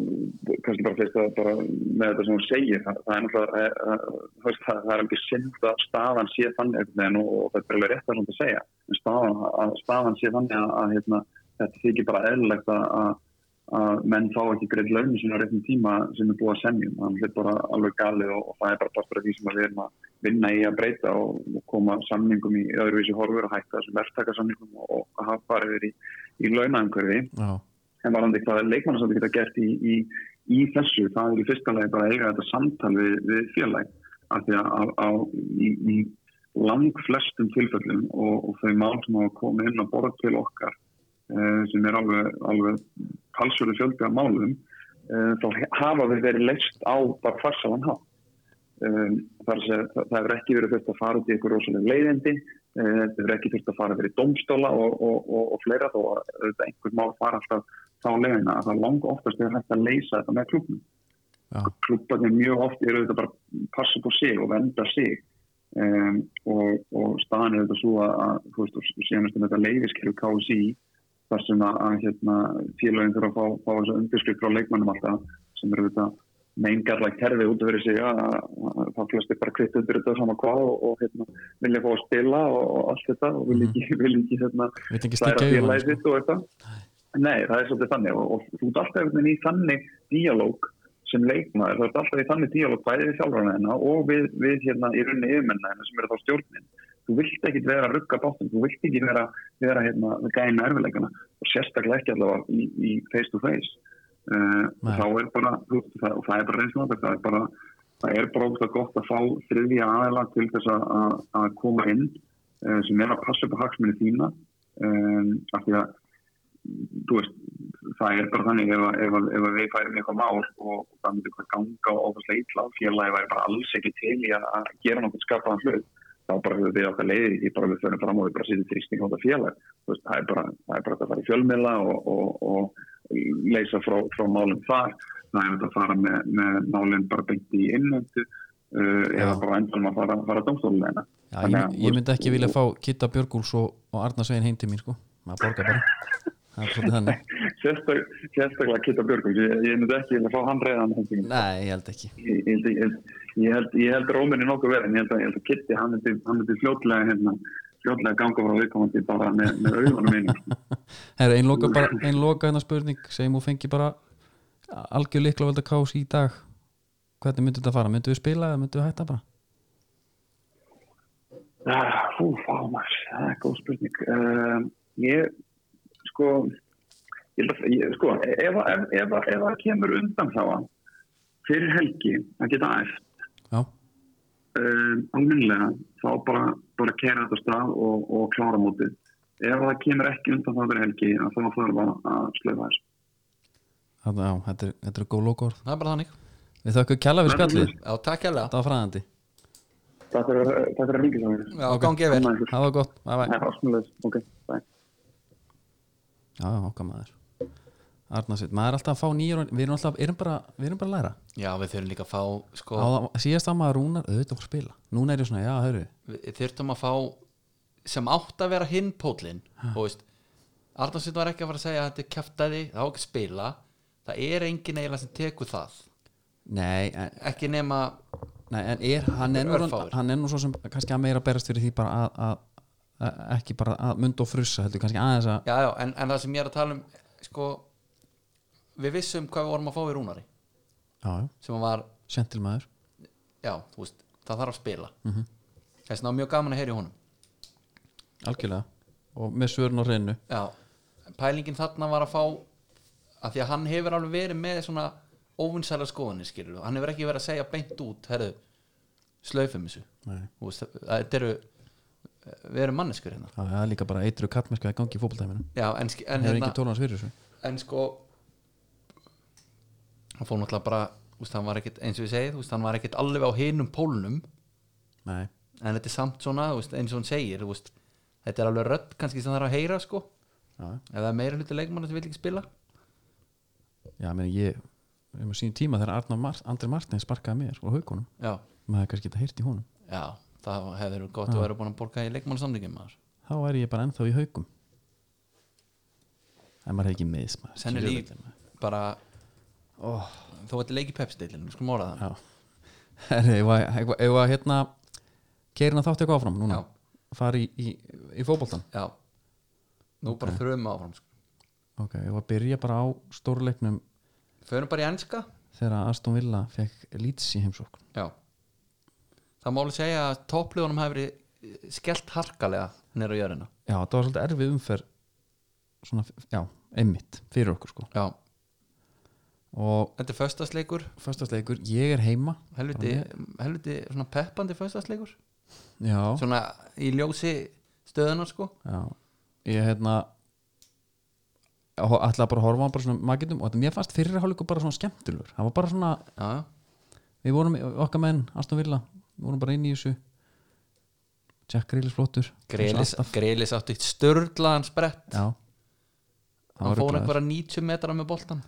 Speaker 3: kannski bara fyrst að bara með þetta sem hún segir, það, það er náttúrulega, eh, þú veist, það, það er alveg synd að staðan sé þannig einhvern veginn og, og þetta er alveg rétt að svona að segja, en staðan, að staðan sé þannig að, að hérna, þetta þykir bara eðlilegt að, að- að menn fá ekki greið launum sem á réttum tíma sem er búið að semja um. þannig að þetta er bara alveg galið og, og það er bara partur af því sem að við erum að vinna í að breyta og, og koma samningum í öðruvísi horfur og hætta þessum verktakarsamningum og, og hafa bara verið í, í launaumhverfi
Speaker 2: já,
Speaker 3: en varandi hvað leikmannasandi geta gert í, í, í þessu, það er í fyrsta lagi bara að eiga þetta samtal við, við félag af því að á, á, í, í lang flestum tilfellum og, og þau mál sem hafa komið inn á borð til okkar eh, sem er alveg, alveg talsverðu fjöldi af málum eh, þá hafa þau verið leist á bara farsalan hátt um, þar að segja, það, það hefur ekki verið þurft að fara út í eitthvað rosalega leiðindi uh, það hefur ekki þurft að fara verið í domstóla og, og, og, og fleira þó að auðvitað einhvern má fara alltaf þá leiðina að það lang oftast er hægt að leysa þetta með klubnum
Speaker 2: já,
Speaker 3: klubbarnir mjög oft eru þetta bara að passa på sig og venda sig um, og, og staðan er þetta svo að, að þú veist, og séðanast um þetta leiðiskeru KSI þar sem að, að hérna, félagin þurfa að fá, fá þessa undirskrift frá leikmannum alltaf sem eru þetta meingalla kerfi út af verið sig að að það flestir bara kvitt undir þetta sama hvað og, og hérna, vilja fá að spila og, og allt þetta og vilja ekki, vilja ekki hérna,
Speaker 2: við veitum ekki
Speaker 3: það
Speaker 2: stikka
Speaker 3: er að
Speaker 2: yfir
Speaker 3: félagið
Speaker 2: hann,
Speaker 3: þitt og eitthvað Nei, það er svolítið þannig og, og þú ert alltaf einhvern veginn í þannig díalóg sem leikmaður, þú ert alltaf í þannig díalóg bæðið við sjálfrana hennar og við, við hérna í runni yfirmennar hennar sem eru þá stjórnin þú vilt ekki vera að rugga báttum þú vilt ekki vera, vera hérna að gæna erfileikana og sérstaklega ekki allavega í, í face to face uh,
Speaker 2: Nei.
Speaker 3: þá er bara, þú, veist, það, og það er bara reyns nota, það er bara það er bara ógst gott að fá þriðja aðeila til þess að- að að koma inn uh, sem er að passa upp á hagsmunni þína um, af því að þú veist, það er bara þannig ef, að- ef, að- ef að við færum eitthvað mál og það myndi eitthvað ganga og ofast leitla og félagi væri bara alls ekki til í að að gera nokkuð skapaðan hlut þá bara höfum við okkar leiði því bara við förum fram og við bara sýttum þrýsting á þetta félag Þú veist, það er bara það er bara hægt að fara í fjölmiðla og, og, og leysa frá, frá málum þar það er hægt að fara með, með málum bara beint í innöndu uh, eða
Speaker 2: Já.
Speaker 3: bara endanum að fara, fara dómstólulegina
Speaker 2: já, ég, mynd- ég myndi ekki vilja fá Kitta Björgúls og, og Arna Svein heim til mín sko, maður borgar bara það er svolítið þannig,
Speaker 3: Sérstak, sérstaklega Kitta Björgum ég, ég myndi ekki vilja fá hann reyðan ég,
Speaker 2: nei, ég held ekki
Speaker 3: ég, held- ég, held- ég, held- ég held róminni nokkuð verið en ég held að, ég held að Kitti hann myndi, hann myndi fljótlega hérna, fljótlega ganga frá viðkomandi bara með, með augunum einu
Speaker 2: Herra, ein loka, bara, ein loka hennar spurning segjum og fengi bara algjör líklavelda kás í dag hvernig myndi þetta fara, myndi við spila eða myndi við hætta bara
Speaker 3: Ah, Fú, fá maður, það er góð spurning. Uh, ég, sko, ég, held að- ég, sko, ef, ef, ef, ef það kemur undan þá fyrir helgi að geta æft
Speaker 2: já,
Speaker 3: uh, alminlega þá bara, bara kæra þetta af stað og, og klára mótið. Ef það kemur ekki undan þá fyrir helgi að þá þarf að- að slöfa þessu.
Speaker 2: þetta, já, þetta, er, þetta er góð lokaorð
Speaker 1: það er bara þannig
Speaker 2: við þökkum kjalla við spjallið,
Speaker 1: Já, takk hérlega
Speaker 2: þetta var fræðandi
Speaker 3: Takk fyrir takk fyrir að ringið saman.
Speaker 1: Já, gangi yfir
Speaker 2: það var gott, bye bye
Speaker 3: Það er ásmulegis. Ok, bye.
Speaker 2: já, já, okkar maður Arnarsveit, maður er alltaf að fá nýjur við erum alltaf, erum bara, við erum bara að læra
Speaker 1: Já, við þurfum líka að fá sko,
Speaker 2: Á, síðast að maður rúnar, auðvitað voru að spila núna er ég svona, já, hörru,
Speaker 1: við þurftum að fá sem átt að vera hinn pólinn og veist, Arnarsson var ekki að fara að segja að þetta er kjaftaði, það á ekki að spila það er engin eiginlega sem tekur það
Speaker 2: nei en,
Speaker 1: ekki nema
Speaker 2: nei, en er, hann er nú
Speaker 1: Örfáir.
Speaker 2: hann er nú svo sem kannski að meira berast fyrir því bara að, að, að ekki bara að munda og frussa heldur kannski aðeins að
Speaker 1: já, já, en, en það sem ég er að tala um sko, við vissum hvað við vorum að fá í Rúnari
Speaker 2: já, já,
Speaker 1: sem var,
Speaker 2: sentilmaður
Speaker 1: já, þú veist það þarf að spila mm -hmm. þess vegna var mjög gaman að heyra í honum
Speaker 2: algjörlega og með svörun og reynu
Speaker 1: Já, pælingin þarna var að fá að því að hann hefur alveg verið með svona óvinsæla skoðanir skilur hann hefur ekki verið að segja beint út herðu, slöfum þessu
Speaker 2: Nei.
Speaker 1: Þú veist, það- þetta eru við erum manneskur hérna
Speaker 2: það er líka bara eitru kattmerska í gangi í fótboltæminu
Speaker 1: Já, en, sk- en,
Speaker 2: það er
Speaker 1: hérna,
Speaker 2: ekki tólans fyrir þessu
Speaker 1: en sko hann fór náttúrulega bara úst, hann var ekkit, eins og ég segi, þú veist, hann var ekkit alveg á hinum pólnum
Speaker 2: nei,
Speaker 1: en þetta er samt svona, þú veist, eins og hann segir þú veist, þetta er alveg rödd kannski sem það er að heyra sko,
Speaker 2: já,
Speaker 1: ef það er meira hluti leikmanna sem vil ekki spila
Speaker 2: já, meni, ég um að sín tíma þegar Arnar Mar Andri Martin sparkaði mér og haukunum
Speaker 1: Já,
Speaker 2: maður hefði kannski geta heyrt í honum
Speaker 1: Já, það hefur verið gott að vera búin að borga í leikmannsamlingum maður.
Speaker 2: þá er ég bara ennþá í haukum en maður hefði ekki meðs maður
Speaker 1: Sennilega í-
Speaker 2: Djöfullinn, maður.
Speaker 1: Bara
Speaker 2: Ó,
Speaker 1: þó þetta leik í pepsdeilinu, skulum orða það
Speaker 2: já herri, ef að- ef að- ef að hérna keirina þátti eitthvað áfram núna
Speaker 1: Já.
Speaker 2: fari í, í, í fótboltan
Speaker 1: Já, nú bara þröfum við áfram sko.
Speaker 2: ok, ég var að byrja bara á stórleiknum
Speaker 1: Förum bara í enska
Speaker 2: þegar Aston Villa fekk Leeds í heimsókn
Speaker 1: Já Það máli segja að toppliðunum hefur verið eh, skellt harkalega nýra á jörðina
Speaker 2: já, þetta var svolítið erfið umferð svona, já, einmitt fyrir okkur sko
Speaker 1: Já,
Speaker 2: og
Speaker 1: þetta er föstasleikur
Speaker 2: föstasleikur, ég er heima
Speaker 1: helviti, helviti svona peppandi föstasleikur
Speaker 2: já,
Speaker 1: Svona í ljósi stöðunar sko
Speaker 2: já ég hérna ætlaði bara að horfa á hann bara svona magitum og þetta mér fannst fyrir hálfleikur bara svona skemmtilegur það var bara svona,
Speaker 1: Já, já.
Speaker 2: við vorum okkar menn Aston Villa, við vorum bara inn í þessu Jack Grealish flottur
Speaker 1: Grelis,
Speaker 2: Eins og alltaf.
Speaker 1: Grelis átti störlaðan sprett
Speaker 2: já
Speaker 1: Hann
Speaker 2: var
Speaker 1: fór
Speaker 2: ruglaður.
Speaker 1: einhverja 90 metra með boltan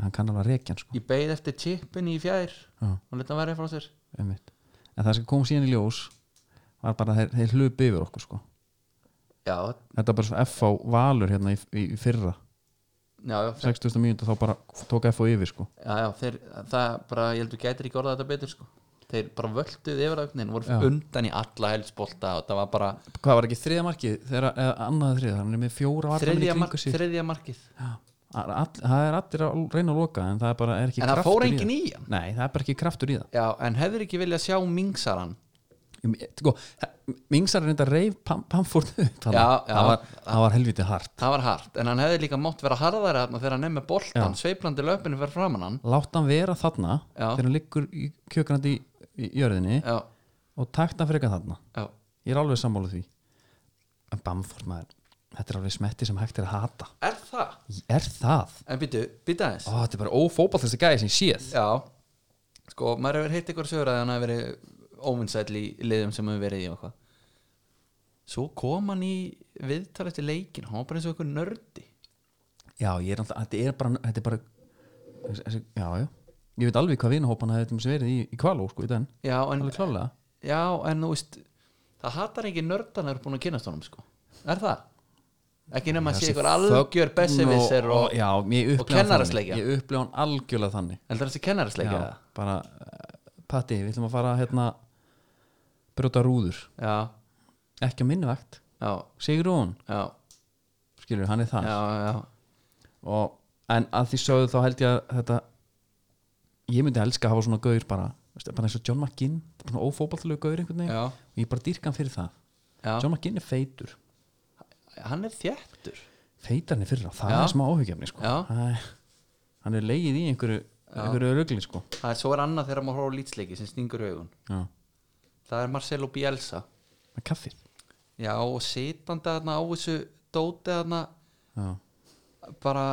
Speaker 2: hann kann alveg að rekja hann sko
Speaker 1: Ég beið eftir chipin í fjær
Speaker 2: Já.
Speaker 1: og leta hann verið frá sér
Speaker 2: einmitt. en það sem kom síðan í ljós var bara að þeir, þeir hlupi yfir okkur sko
Speaker 1: Já,
Speaker 2: þetta er bara svo FH valur hérna í, í, í fyrra
Speaker 1: já, já,
Speaker 2: 60. mínútu þá bara tók FH yfir sko
Speaker 1: já, já þeir, það bara, ég heldur gætir ekki orðað þetta betur sko Þeir bara völduð yfir ögnin, voru
Speaker 2: Já.
Speaker 1: undan í alla helspolta og það var bara
Speaker 2: hvað var ekki þriða markið þegar, eða annað þriða, hann er með fjóra varnarmenn í
Speaker 1: þriðja,
Speaker 2: kringum
Speaker 1: mark,
Speaker 2: sig.
Speaker 1: þriðja markið
Speaker 2: Já, all, all- það er allir að reyna að loka en það er bara er ekki
Speaker 1: En það
Speaker 2: kraftur
Speaker 1: fór enginn
Speaker 2: það.
Speaker 1: í hann.
Speaker 2: nei, það er bara ekki kraftur í það
Speaker 1: Já, en hefur ekki viljað sjá mingsaran
Speaker 2: Ég- sko, Mingsar er reynda reif pam, pamfórn upp þarna.
Speaker 1: Já, já.
Speaker 2: það var, það var helviti hart
Speaker 1: Það var hart, en hann hefði líka mátt vera harðari þarna þegar hann nefnir boltan, sveiplandi löpinu fyrir framann hann
Speaker 2: látt hann vera þarna
Speaker 1: Já.
Speaker 2: þegar hann liggur í kjökrandi í, í jörðinni
Speaker 1: Já,
Speaker 2: og takt hann freka þarna
Speaker 1: já,
Speaker 2: ég er alveg sammála því en Bamford maður, þetta er alveg smetti sem hægt er að hata
Speaker 1: er það?
Speaker 2: er það?
Speaker 1: En býtu, býtu aðeins
Speaker 2: Ó, þetta er bara ófóbaltast að gæði sem ég séð
Speaker 1: Já, sko, maður hefur heitt eitthvað sögur að hann hafi verið óvinnsæll í liðum sem hefur verið í og eitthvað Svo kom hann í viðtal eftir leikin, hann var bara eins og eitthvað nördi
Speaker 2: já, ég er alltaf, þetta er bara, þetta er bara þessi- þessi- já, já ég veit alveg hvað vinahópan hefði til dæmis verið í, í kvaló sko í den,
Speaker 1: Já, en,
Speaker 2: alveg klálega
Speaker 1: já, en þú veist það hatar ekki nördan að eru búin að kynast honum sko. er það? Ekki nema að sé eitthvað algjör bessevisser
Speaker 2: og,
Speaker 1: og,
Speaker 2: já, ég
Speaker 1: og
Speaker 2: upplifa hann
Speaker 1: kennarasleikja.
Speaker 2: þannig. ég upplifa hann algjörlega þannig
Speaker 1: heldur þessi kennarasleika
Speaker 2: já,
Speaker 1: já.
Speaker 2: bara, uh, Patti, við ætlum að fara hérna brjóta rúður
Speaker 1: já,
Speaker 2: ekki á minnvægt,
Speaker 1: já,
Speaker 2: Sigrún
Speaker 1: já,
Speaker 2: skilur, hann er það
Speaker 1: já, já
Speaker 2: og, en að því sögðu þá held ég að þetta ég myndi elska að hafa svona gaur bara, veistu, bara eins og John McGinn þetta er bara ófóbaltalegu gaur einhvern veginn
Speaker 1: Já.
Speaker 2: og ég bara dýrka hann fyrir það
Speaker 1: Já.
Speaker 2: John McGinn er feitur,
Speaker 1: hann er þjættur
Speaker 2: feitar hann er fyrir það það
Speaker 1: Já.
Speaker 2: er smá áhugjefni sko
Speaker 1: Já.
Speaker 2: Það er- hann er leigið í einhverju, einhverju rögli sko
Speaker 1: það er svo er annað þegar maður horfa á lýtsleiki sem stingur augun
Speaker 2: Já.
Speaker 1: það er Marcelo Bielsa
Speaker 2: með kaffið
Speaker 1: já, og sitandi þarna á þessu dóti þarna
Speaker 2: Já.
Speaker 1: bara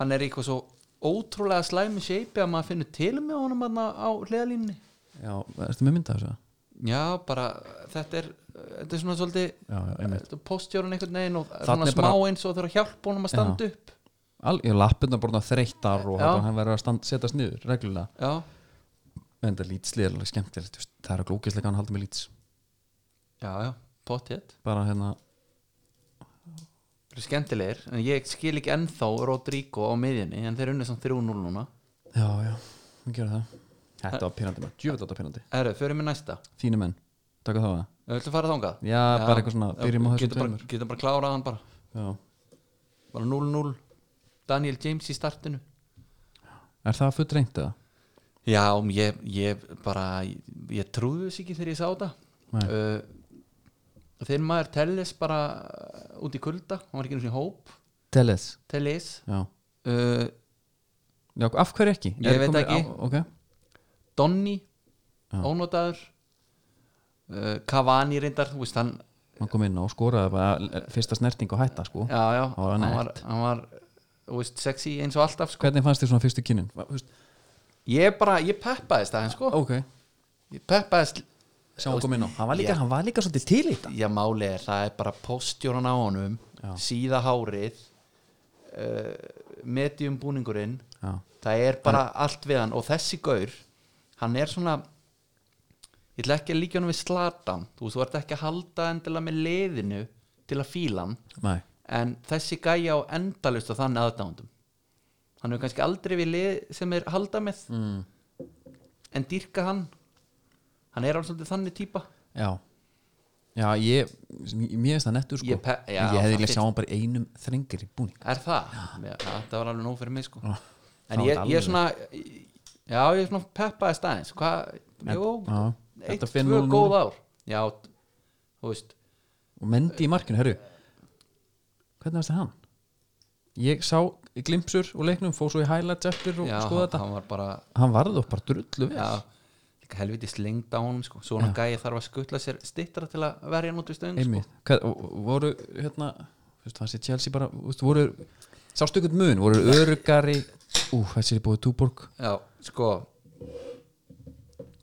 Speaker 1: hann er í eitthvað svo ótrúlega slæmi shape að maður finnur til með honum þarna á hliðalínni
Speaker 2: Já, ertu með mynda þessu? eða?
Speaker 1: Já, bara þetta er, þetta er svona svolítið
Speaker 2: Já, já, einmitt
Speaker 1: postjórun einhvern veginn og
Speaker 2: Þarna
Speaker 1: svona
Speaker 2: er
Speaker 1: smá
Speaker 2: bara-
Speaker 1: eins og þurfa að hjálpa honum að standa upp
Speaker 2: Al, Ég lappin að borna þreyttar og
Speaker 1: Já.
Speaker 2: bara, hann verður að stand, setast niður reglulega
Speaker 1: Já,
Speaker 2: en þetta lýtslið er alveg skemmtilegt þú veist, það er að glókislega hann haldi með lýts
Speaker 1: já, já, potið
Speaker 2: bara hérna,
Speaker 1: Þeir eru skemmtilegir, en ég skil ekki ennþá Rodrigo á miðjunni, en þeir unni samt 3-0 núna
Speaker 2: já já, hann gerir það Þetta var pyrrandi menn, djöfitt þetta var pyrrandi
Speaker 1: Erðu, förum við næsta
Speaker 2: Þínu menn, taka þá að
Speaker 1: Viltu fara þangað?
Speaker 2: Já, bara eitthvað svona, byrjum á þessum
Speaker 1: getum bara,
Speaker 2: tveimur.
Speaker 1: getum bara klárað hann bara
Speaker 2: Já.
Speaker 1: Bara 0-0 Daniel James í startinu
Speaker 2: Er það fullt reynt eða?
Speaker 1: Já, um, ég, ég bara ég, ég trúði þess ekki þegar ég sá
Speaker 2: Nei.
Speaker 1: þetta uh, Þegar maður tellis bara uh, út í kulda hann var ekki einu sinni í hóp,
Speaker 2: Teles
Speaker 1: tellis
Speaker 2: Já,
Speaker 1: uh,
Speaker 2: já af hverju ekki?
Speaker 1: Ég
Speaker 2: Er
Speaker 1: veit
Speaker 2: komið
Speaker 1: ekki.
Speaker 2: á, Ok,
Speaker 1: Donny
Speaker 2: Já.
Speaker 1: ónotaður uh, Cavani reyndar, þú veist hann
Speaker 2: hann kom inn og skoraði bara eh, fyrsta snerting og hætta sko
Speaker 1: já, já,
Speaker 2: var
Speaker 1: hann
Speaker 2: nett.
Speaker 1: var, hann var þú veist, sexy eins og alltaf sko.
Speaker 2: Hvernig fannst þér svona fyrstu kynnin? Va- þú veist,
Speaker 1: ég bara, ég peppaðist það sko.
Speaker 2: Ok,
Speaker 1: ég peppaðist
Speaker 2: sjá hann kom inn á Hann var líka,
Speaker 1: Já.
Speaker 2: hann var líka svolítið til í þetta
Speaker 1: Já, máli er, það er bara postjóran á honum
Speaker 2: Já.
Speaker 1: síða hárið uh, medium búningurinn
Speaker 2: Já,
Speaker 1: það er bara allt við hann og þessi gaur, hann er svona ég ætla ekki að líka hann við slatan, þú veist, þú ert ekki að halda endilega með leiðinu til að fíla hann
Speaker 2: næ,
Speaker 1: en þessi gæja á endalust og þannig aðdándum hann hefur kannski aldrei við lið sem er halda með mm. en dýrka hann hann er alveg svolítið þannig típa
Speaker 2: já já, ég, mér finnst það nettur sko
Speaker 1: Ég pe- já,
Speaker 2: En ég hefði
Speaker 1: það
Speaker 2: líka
Speaker 1: fyrst-
Speaker 2: sjá hann bara í einum þrengir í búning
Speaker 1: Er það? Já, það var alveg nóg fyrir mig sko En ég,
Speaker 2: það var
Speaker 1: ég
Speaker 2: alveg-
Speaker 1: er svona Já, ég er svona peppaði staðins Hvað, jú,
Speaker 2: já,
Speaker 1: eitt,
Speaker 2: þetta finn
Speaker 1: tvö
Speaker 2: núna.
Speaker 1: góð ár Já, þú veist
Speaker 2: og mendi í markinu, herru hvernig varst það hann? ég sá glimpsur úr leiknum fóð svo í highlights eftir og
Speaker 1: Já,
Speaker 2: skoða
Speaker 1: hann,
Speaker 2: þetta
Speaker 1: hann var bara
Speaker 2: hann varði þó bara drullu vel
Speaker 1: já, líka helviti slengd á honum sko. Svona gæi þarf að skutla sér stittra til að verja hann út í stöng sko.
Speaker 2: einmitt, Hvað, og- og voru hérna, þú veist, fannst ég Chelsea bara þú veist, voru, sástu ykkur mun, voru örugari ú, þessi er búið Túborg
Speaker 1: Já, sko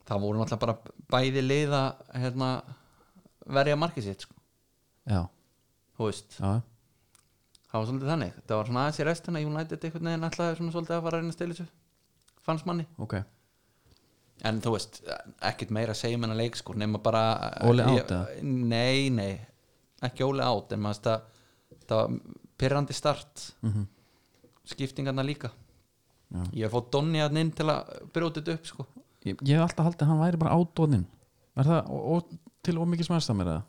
Speaker 1: Það voru náttúrulega bara bæði leiða hérna, verja markið sitt sko.
Speaker 2: já,
Speaker 1: Þú veist,
Speaker 2: já,
Speaker 1: það var svolítið þannig Það var svona aðeins í restina United einhvern veginn alltaf svona svolítið að fara að reyna að stila þessu fannst manni
Speaker 2: ok
Speaker 1: en þú veist, ekkert meira að segja um hennar leik sko, nema bara
Speaker 2: Óli
Speaker 1: ég-
Speaker 2: out, eða?
Speaker 1: Nei, nei, ekki Óli átt en maður það, það var pyrrandi start mm -hmm. skiptingarna líka
Speaker 2: Mhm. Já.
Speaker 1: ég hef fótt Donni hann inn til að brjóta þetta upp sko.
Speaker 2: ég, ég hef alltaf haldið að hann væri bara ádóðnin er það og, og, til ómikið smæðstamir eða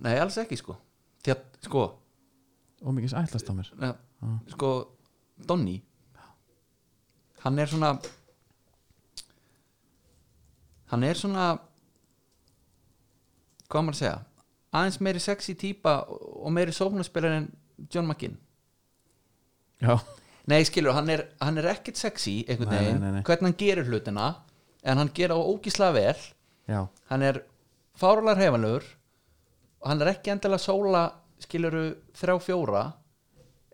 Speaker 1: nei, alls ekki sko því að, sko,
Speaker 2: ómikið ætlastamir
Speaker 1: ja, sko Donni hann er svona hann er svona hvað á maður að segja aðeins meiri sexy típa og meiri sóknarspilar en John McGinn
Speaker 2: já,
Speaker 1: nei skilur, hann er, hann er ekkit sexy einhvern
Speaker 2: Nei, nei,
Speaker 1: veginn,
Speaker 2: nei, nei.
Speaker 1: hvernig hann gerir hlutina en hann gerir á ógísla vel
Speaker 2: já,
Speaker 1: hann er fárulega hrefanlegur og hann er ekki endilega sóla skiluru þrjá fjóra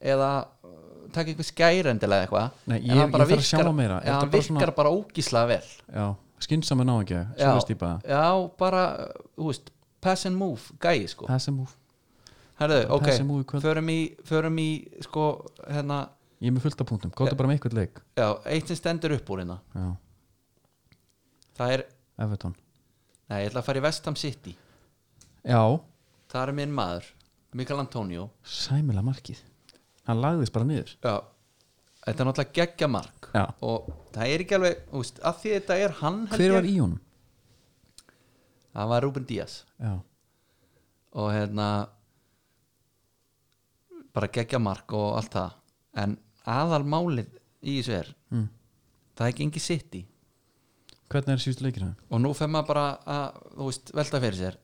Speaker 1: eða uh, taka eitthvað skæri endilega eitthvað
Speaker 2: Nei,
Speaker 1: en
Speaker 2: ég-
Speaker 1: hann bara
Speaker 2: ég þarf að sjá
Speaker 1: virkar-
Speaker 2: hann meira.
Speaker 1: já,
Speaker 2: Þetta
Speaker 1: hann
Speaker 2: bara
Speaker 1: virkar
Speaker 2: svona-
Speaker 1: bara, bara ógíslega vel
Speaker 2: já skynsam er ná ekki,
Speaker 1: já,
Speaker 2: svo veist ég bara
Speaker 1: já, bara uh, þú veist, pass and move gæi sko
Speaker 2: þessi múf,
Speaker 1: Herðu, ok,
Speaker 2: pass and move í kvöld.
Speaker 1: förum í, förum í sko, hérna,
Speaker 2: ég er með fullt af punktum kóta bara með eitthvað leik,
Speaker 1: já, eitt sem stendur upp úr hérna
Speaker 2: já,
Speaker 1: það er,
Speaker 2: Everton
Speaker 1: nei, ég ætla að fara í Vestham City
Speaker 2: já,
Speaker 1: það er minn maður, Mikael Antonio
Speaker 2: sæmilega markið hann lagðist bara niður
Speaker 1: Já, þetta er náttúrulega geggja mark
Speaker 2: Já.
Speaker 1: og það er ekki alveg úst, að því þetta er hann held
Speaker 2: hver
Speaker 1: ég-
Speaker 2: var í honum?
Speaker 1: Það var Ruben Díaz
Speaker 2: já,
Speaker 1: og hérna bara geggja mark og allt það en aðal málið í þessu er
Speaker 2: mm.
Speaker 1: það er ekki engi sitt í
Speaker 2: hvernig er síðust leikir hann?
Speaker 1: og nú fer maður bara að þú veist, velta fyrir sér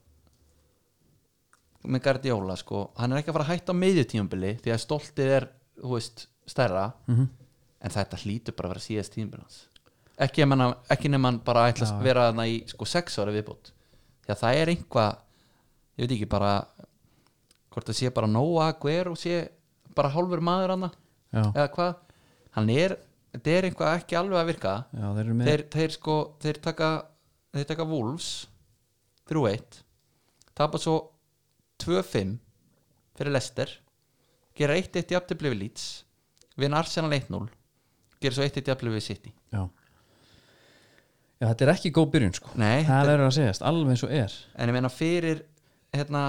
Speaker 1: með Gardiola sko hann er ekki að fara að hætta á miðjutíumbili því að stoltið er þú veist, stærra
Speaker 2: Mhm.
Speaker 1: en þetta hlýtur bara að vera síðast tímbil hans ekki, ef hann- ekki nefn hann bara ætla að vera þarna í sko sex ára viðbútt því að það er einhvað ég veit ekki bara hvort það sé bara nóa hver og sé bara hálfur maður hann
Speaker 2: já,
Speaker 1: eða hvað hann er, þetta er einhvað ekki alveg að virka
Speaker 2: já, þeir eru með
Speaker 1: þeir, þeir sko þeir taka, þeir taka Wolves 3-1 tapa svo 2-5 fyrir Leicester gera 1-1 jafntöfli við Leeds vinna Arsenal 1-0 gera svo 1-1 jafntöfli við City
Speaker 2: já já, þetta er ekki góð byrjun sko
Speaker 1: Nei,
Speaker 2: það er að segjast, alveg eins og er
Speaker 1: en ég meina fyrir hérna,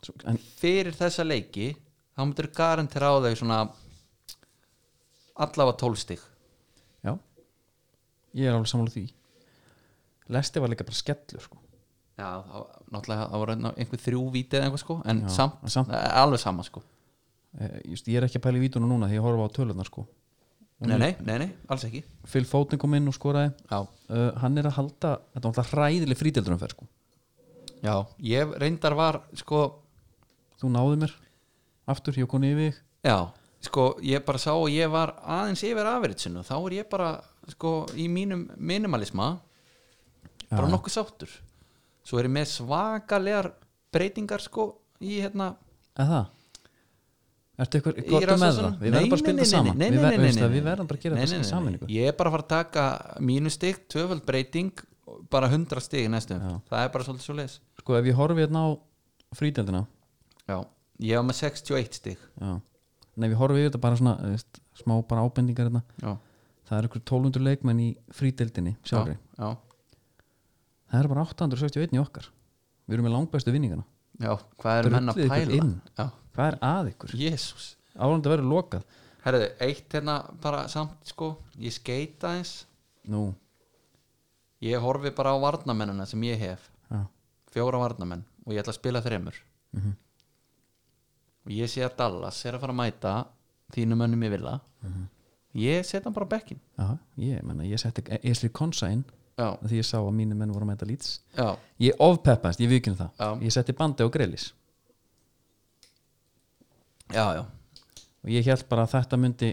Speaker 2: Svo- en
Speaker 1: fyrir þessa leiki þá myndir garantera á þau svona allafa 12 stig
Speaker 2: Já Ég er alveg sammála því Lesti var líka bara skellur sko.
Speaker 1: já, þá, náttúrulega það voru einhver þrjú vítið eða eitthvað sko, en
Speaker 2: Já,
Speaker 1: samt,
Speaker 2: en samt.
Speaker 1: alveg sama sko
Speaker 2: eh, just, Ég er ekki að pæla í vítunum núna því ég horfa á tölunar sko.
Speaker 1: nei, nei, nei, nei, alls ekki
Speaker 2: Phil Foden kom inn og skoraði
Speaker 1: já,
Speaker 2: uh, Hann er að halda, þetta var alltaf hræðileg frídeldrunumferð sko.
Speaker 1: Já, ég reyndar var sko,
Speaker 2: Þú náði mér aftur, ég kom yfir þig.
Speaker 1: já, sko ég bara sá og ég var aðeins yfir afritsinu þá er ég bara sko í mínum minimalisma bara nokkuð sáttur svo er ég með svakalegar breytingar sko í hérna
Speaker 2: Eða það? Ertu eitthvað
Speaker 1: í
Speaker 2: gott með
Speaker 1: rassvasanum.
Speaker 2: það?
Speaker 1: Nei,
Speaker 2: Við verðum bara að
Speaker 1: nei,
Speaker 2: spila
Speaker 1: nei,
Speaker 2: þetta
Speaker 1: nei,
Speaker 2: saman
Speaker 1: nei,
Speaker 2: Við
Speaker 1: nei,
Speaker 2: ver-
Speaker 1: nei,
Speaker 2: veist
Speaker 1: nei,
Speaker 2: það,
Speaker 1: nei,
Speaker 2: Við verðum bara að gera
Speaker 1: nei, nei,
Speaker 2: þetta
Speaker 1: nei,
Speaker 2: saman
Speaker 1: nei.
Speaker 2: ykkur.
Speaker 1: Ég er bara að fara að taka mínustig, tvöfald breyting bara hundra stig í næstum
Speaker 2: Já.
Speaker 1: það er bara svolítið svo leis
Speaker 2: Sko ef ég horfi hérna á frídeldina
Speaker 1: Já, ég var með 61 stig
Speaker 2: já. Nei, við horfi yfir þetta bara svona þú veist, smá bara ábendingar hérna
Speaker 1: Já,
Speaker 2: það er ykkur 1200 leikmenn í frídeldinni sjálfri,
Speaker 1: já,
Speaker 2: það er bara 861 í okkar við erum með langbæstu vinningana
Speaker 1: já, hvað erum henn að
Speaker 2: Drullið ykkur
Speaker 1: pæla
Speaker 2: inn.
Speaker 1: Já,
Speaker 2: hvað er að ykkur?
Speaker 1: jésús
Speaker 2: Álandi verður lokað
Speaker 1: Herðu, eitt hérna bara samt sko ég skeit aðeins
Speaker 2: nú,
Speaker 1: ég horfi bara á varnamennina sem ég hef
Speaker 2: já,
Speaker 1: fjóra varnamenn og ég ætla að spila þremur
Speaker 2: Mhm.
Speaker 1: og ég sé að Dallas er að fara að mæta þínum önnum ég vilja
Speaker 2: Mhm.
Speaker 1: ég set hann bara á bekkin
Speaker 2: Já, ég, menna, ég setti Esli Konsa inn
Speaker 1: já,
Speaker 2: því ég sá að mínu menn voru að mæta lýts
Speaker 1: já,
Speaker 2: Ég ofpeppast, ég vikinu það
Speaker 1: Já.
Speaker 2: Ég setti bandi á grillis
Speaker 1: já, já,
Speaker 2: og ég held bara að þetta myndi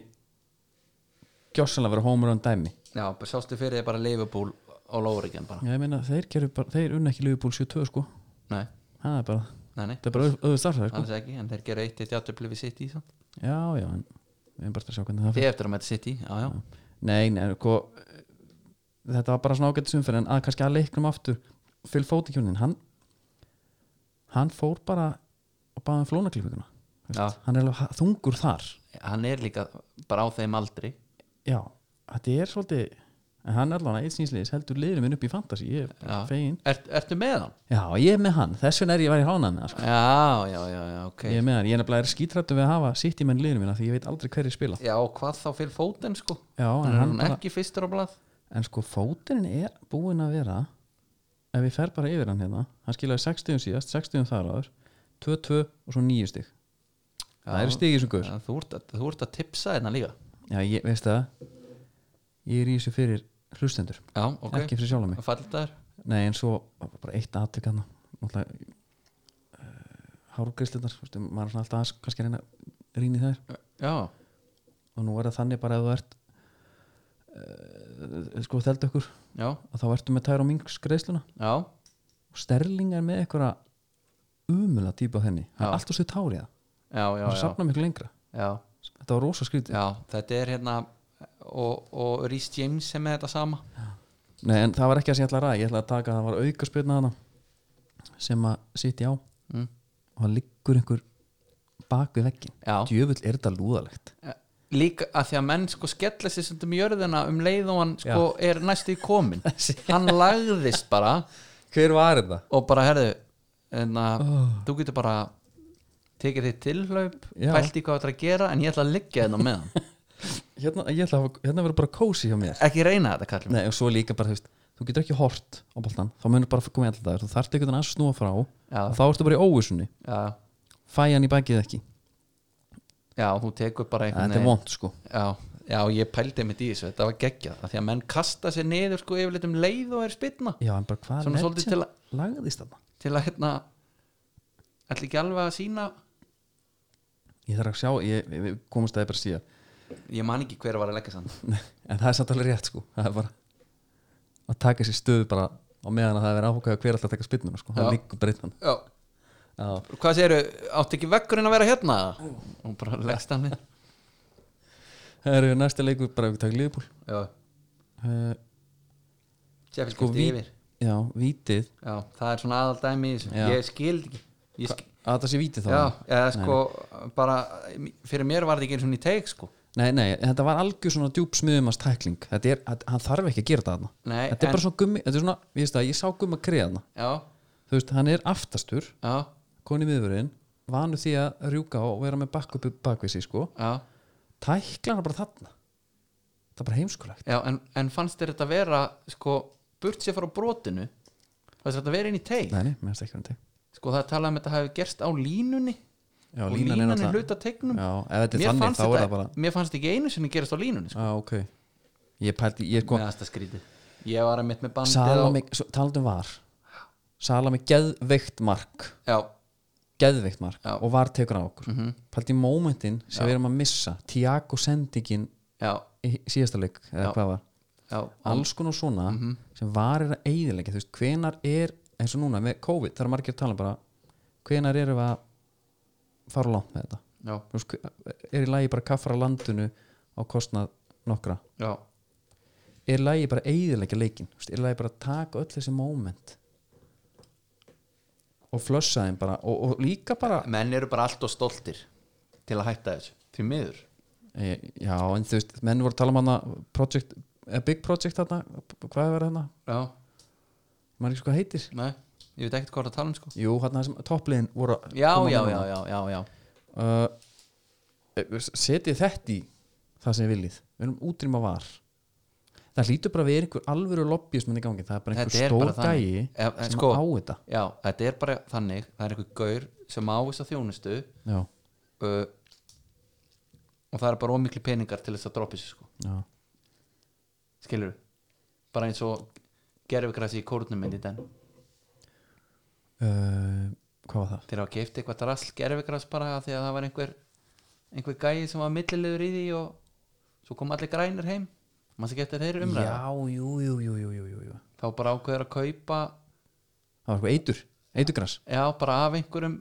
Speaker 2: gjossanlega vera homur án dæmi
Speaker 1: já bara sástu fyrir þér bara Liverpool all over again bara
Speaker 2: Já, ég meina, þeir, gerðu bara, þeir unna ekki Liverpool 72 sko
Speaker 1: nei,
Speaker 2: Það er bara,
Speaker 1: nei, nei,
Speaker 2: það er bara öðvöð starfæð sko
Speaker 1: annars ekki en þeir gera eitt eitt játtöfli við City samt.
Speaker 2: Já, já, en við erum bara að sjá hvernig það
Speaker 1: þið
Speaker 2: fyrir
Speaker 1: eftir að mæta City, já, já,
Speaker 2: Nei, nei, sko þetta var bara svona ágættis umferð en að kannski að leiknum aftur Phil Fótikjónin, hann hann fór bara og baða um flónaklippinguna
Speaker 1: Já.
Speaker 2: hann er alveg ha- þungur þar
Speaker 1: hann er líka bara á þeim aldri
Speaker 2: Já, þetta er svolítið en hann er allavega eitt sínsliðis heldur liðinu minn upp í fantasy, ég er bara
Speaker 1: Já.
Speaker 2: fegin
Speaker 1: Ert, ertu með hann?
Speaker 2: Já, ég er með hann, þess vegna er ég væri hánað með hann sko.
Speaker 1: já, já, já, já, ok
Speaker 2: Ég er með hann, ég er nefnilega er skítrættu við að hafa sitt í menn liðinu minna því ég veit aldrei hverju spila
Speaker 1: já, og hvað þá fyrir fótinn sko
Speaker 2: Já, en,
Speaker 1: hann er
Speaker 2: hann
Speaker 1: hann
Speaker 2: bara,
Speaker 1: ekki fyrstur á blað
Speaker 2: en sko fótinn er búinn að vera ef ég fer bara yfir hann hérna hann skilaði 60 síðast, 60 þar áður 2-2 og svo 9 stig Það er stig í þessum guður
Speaker 1: Já, þú, ert að, þú ert að tipsa hérna líka
Speaker 2: Já, ég veist það ég er í þessu fyrir hlustendur
Speaker 1: já, ok,
Speaker 2: ekki fyrir sjálf mig
Speaker 1: það fallit þær
Speaker 2: Nei, en svo var bara eitt atvik hann náttúrulega eh, uh, hárgriðslunar, maður er svona alltaf aðeins kannski að reyna að rýna í þær
Speaker 1: já,
Speaker 2: og nú er það þannig bara að þú ert uh, sko þeldu ykkur
Speaker 1: já,
Speaker 2: að þá ertu með tæra og mings greiðsluna
Speaker 1: já,
Speaker 2: og Sterling er með einhverja umula típa henni, hann
Speaker 1: Já.
Speaker 2: er allt og stuð tárið
Speaker 1: já, já,
Speaker 2: hann
Speaker 1: já,
Speaker 2: safna miklu lengra,
Speaker 1: já.
Speaker 2: þetta var rosa skrítið
Speaker 1: já þetta er hérna og, og Rhys James sem er þetta sama
Speaker 2: Nei, en það var ekki það sem ég ætla að ræða, ég ætla að taka að það var auka spilna hana sem að sitja á
Speaker 1: mm.
Speaker 2: og hann liggur einhver bak við veggin
Speaker 1: já,
Speaker 2: djöfull er þetta lúðalegt
Speaker 1: líka að því að menn sko skella sér stundum í jörðina um leið og hann sko er næstu í komin hann lagðist bara
Speaker 2: Hver var þetta?
Speaker 1: og bara herðu en að þú getur bara tekið þitt tilhlaup,
Speaker 2: Ah. Já.
Speaker 1: pælt í hvað þetta er að gera en ég ætla að liggja þetta með hann
Speaker 2: Hérna, ég ætla að hafa- hérna verður bara kósi hjá mér
Speaker 1: ekki reyna þetta kallum
Speaker 2: Nei, og svo líka bara, þú veist, þú getur ekki hort á boltan, þá munur bara koma í alltaf dagur, þú þarft einhvern veginn að snúa frá
Speaker 1: Já.
Speaker 2: og þá ertu bara í óvissunni,
Speaker 1: já,
Speaker 2: fæ hann í bakið ekki
Speaker 1: já, þú tekur bara einhvern
Speaker 2: Þetta er vond, sko
Speaker 1: já, já, ég pældi mitt í þessu, þetta var geggjað af því að menn kasta sér niður sko yfirleitt um leið og er spilna
Speaker 2: Já, en bara hvað
Speaker 1: Svona
Speaker 2: er
Speaker 1: svolítið til að-
Speaker 2: lagðist þarna?
Speaker 1: til að hérna ætla ekki alveg að sína
Speaker 2: Ég þarf að sjá, ég, ég, ég komast að það bara síðan
Speaker 1: ég man ekki hver var að leggja sann
Speaker 2: En það er samt alveg rétt, sko Það er bara að taka sér stöðu bara á meðan að það er verið áhugaðu hver alltaf að taka spinnuna, sko Það
Speaker 1: Já.
Speaker 2: liggur breytan
Speaker 1: já,
Speaker 2: Já,
Speaker 1: hvað séru, átti ekki veggurinn að vera hérna og bara leggst hann við
Speaker 2: það eru næsti leikur bara ef við taka liðbúl
Speaker 1: já,
Speaker 2: uh,
Speaker 1: Sheffield
Speaker 2: Sko,
Speaker 1: sko,
Speaker 2: ví-
Speaker 1: yfir
Speaker 2: Já, vítið
Speaker 1: já, það er svona aðal dæmi í þessu.
Speaker 2: Já.
Speaker 1: ég skildi ekki ég skildi
Speaker 2: Að það sé vítið þá
Speaker 1: Já, eða sko bara fyrir mér var þetta ekki eins og í teik sko
Speaker 2: Nei, nei, en þetta var algjör svona djúb smiðumans tækling þetta er, að, hann þarf ekki að gera þetta þarna
Speaker 1: Nei,
Speaker 2: þetta er
Speaker 1: en-
Speaker 2: bara svona gummi, þetta er svona, ég veist það, ég sá gumma kreða þarna
Speaker 1: Já,
Speaker 2: þú veist, hann er aftastur,
Speaker 1: já,
Speaker 2: koni miðurinn vanu því að rjúka á og vera með bakkup bakvið sig, sko,
Speaker 1: já,
Speaker 2: tæklar hann bara þarna það er bara heimskulegt
Speaker 1: já en, en fannst þér þetta vera sko burt sér frá brotinu fannst þér þetta vera inn í teik
Speaker 2: Nei, nei, mér finnst ekki hann til
Speaker 1: sko það er talað um að þetta hafi gerst á línunni
Speaker 2: Já,
Speaker 1: og
Speaker 2: línan er
Speaker 1: línan er
Speaker 2: náttúrulega-
Speaker 1: hluta teiknum
Speaker 2: Já, ef þetta er
Speaker 1: mér,
Speaker 2: þannig,
Speaker 1: fannst
Speaker 2: þá er
Speaker 1: þetta,
Speaker 2: það bara
Speaker 1: mér fannst ekki einu sinni gerast á línunni sko.
Speaker 2: Já, ok Ég pælti, ég sko,
Speaker 1: með aðsta skrítið ég var að mitt með bandið
Speaker 2: Salami, svo, talandum var Salami geðveikt mark
Speaker 1: já,
Speaker 2: geðveikt mark
Speaker 1: Já.
Speaker 2: og var tekur á okkur mm -hmm. í mómentin sem við erum að missa Tiago sendingin
Speaker 1: já,
Speaker 2: í síðasta leik
Speaker 1: Já.
Speaker 2: eða hvað var,
Speaker 1: já,
Speaker 2: alls konar svona sem var er að eiginlega, þú veist, hvenar er eins og núna með COVID, það er margir að tala um bara hvenar erum við að fara langt með þetta
Speaker 1: já,
Speaker 2: Þú veist, hve- er í lagi bara að kaffra landinu á kostnað nokkra
Speaker 1: já,
Speaker 2: er í lagi bara að eiginlega leikin Þú veist, er í lagi bara að taka öll þessi moment og flössa þeim bara og, og líka bara
Speaker 1: menn eru bara allt og stoltir til að hætta þessu, því miður
Speaker 2: E, Já, en þú veist, menn voru að tala um hana project, eh, Big Project þarna hvað er þarna,
Speaker 1: já,
Speaker 2: maður ekki sko heitir
Speaker 1: nei, ég veit ekkert hvað það tala um sko
Speaker 2: Jú, þarna sem toppliðin voru að
Speaker 1: já,
Speaker 2: koma
Speaker 1: já,
Speaker 2: með
Speaker 1: já,
Speaker 2: hana.
Speaker 1: já, já, já
Speaker 2: Eh, Uh, e, Setið þetta í það sem þið viljið, við erum útrýma var það hlýtur bara að vera einhver alvöru lobbyismenn í gangi það er bara
Speaker 1: Þetta
Speaker 2: einhver
Speaker 1: er
Speaker 2: stór
Speaker 1: bara þannig.
Speaker 2: gæi
Speaker 1: Ef- en
Speaker 2: sem
Speaker 1: sko-
Speaker 2: á þetta
Speaker 1: já, þetta er bara þannig það er einhver gaur sem á þess að þjónustu
Speaker 2: já,
Speaker 1: uh, og það er bara ómikli peningar til þess að droppa þessu sko
Speaker 2: já,
Speaker 1: skilur bara eins og gerfigræsi í kórnum minn í den
Speaker 2: uh, hvað var það?
Speaker 1: þeir hafa keift eitthvað drasl gerfigræs bara af því að það var einhver einhver gæi sem var millilegur í því og svo kom allir grænir heim maður sem getur þeirri umræða
Speaker 2: já, jú, jú, jú, jú, jú, jú, jú
Speaker 1: þá bara ákveður að kaupa
Speaker 2: það var eitthvað eitur, eiturgras
Speaker 1: já, bara af einhverjum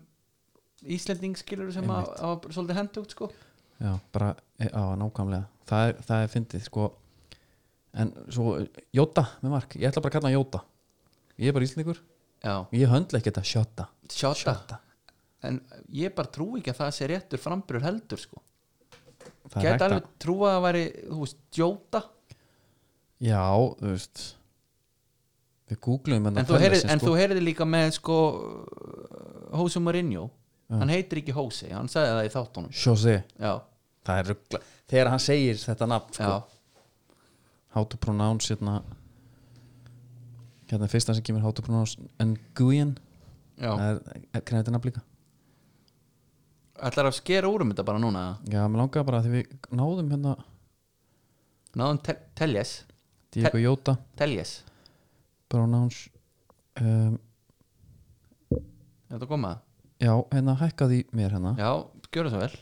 Speaker 1: Íslendingskilur sem að, að var svolítið hendugt sko
Speaker 2: já, bara, e- á, nákvæmlega það er, það er fyndið, sko en svo, Jóta með mark ég ætla bara að kalla hann Jóta ég er bara íslendingur,
Speaker 1: já,
Speaker 2: ég höndla ekki þetta Sjóta,
Speaker 1: sjáta en ég bara trú ekki að það sé réttur framburur heldur sko
Speaker 2: það er
Speaker 1: gæti
Speaker 2: hægt að
Speaker 1: alveg trú að það væri, þú veist, jóta
Speaker 2: já, þú veist við googlum
Speaker 1: en, þú heyrir, en
Speaker 2: sko.
Speaker 1: þú heyrði líka með sko uh, Jose Mourinho hann heitir ekki Jose, hann sagði það í þáttunum
Speaker 2: Jose,
Speaker 1: já,
Speaker 2: það er ruggla þegar hann segir þetta
Speaker 1: já,
Speaker 2: nafn sko, how to pronounce hérna hérna fyrsta sem kemur how to pronounce Nguyen
Speaker 1: já
Speaker 2: það er hvernig þetta nafn líka
Speaker 1: ætlar að skera úr um þetta bara núna
Speaker 2: já, mér langaði bara að því við náðum hérna
Speaker 1: náðum te teljes
Speaker 2: Diego Jota
Speaker 1: teljes,
Speaker 2: pronounce um,
Speaker 1: er þetta að koma?
Speaker 2: já, hérna hækkaði í mér hérna
Speaker 1: já, gjöra svo vel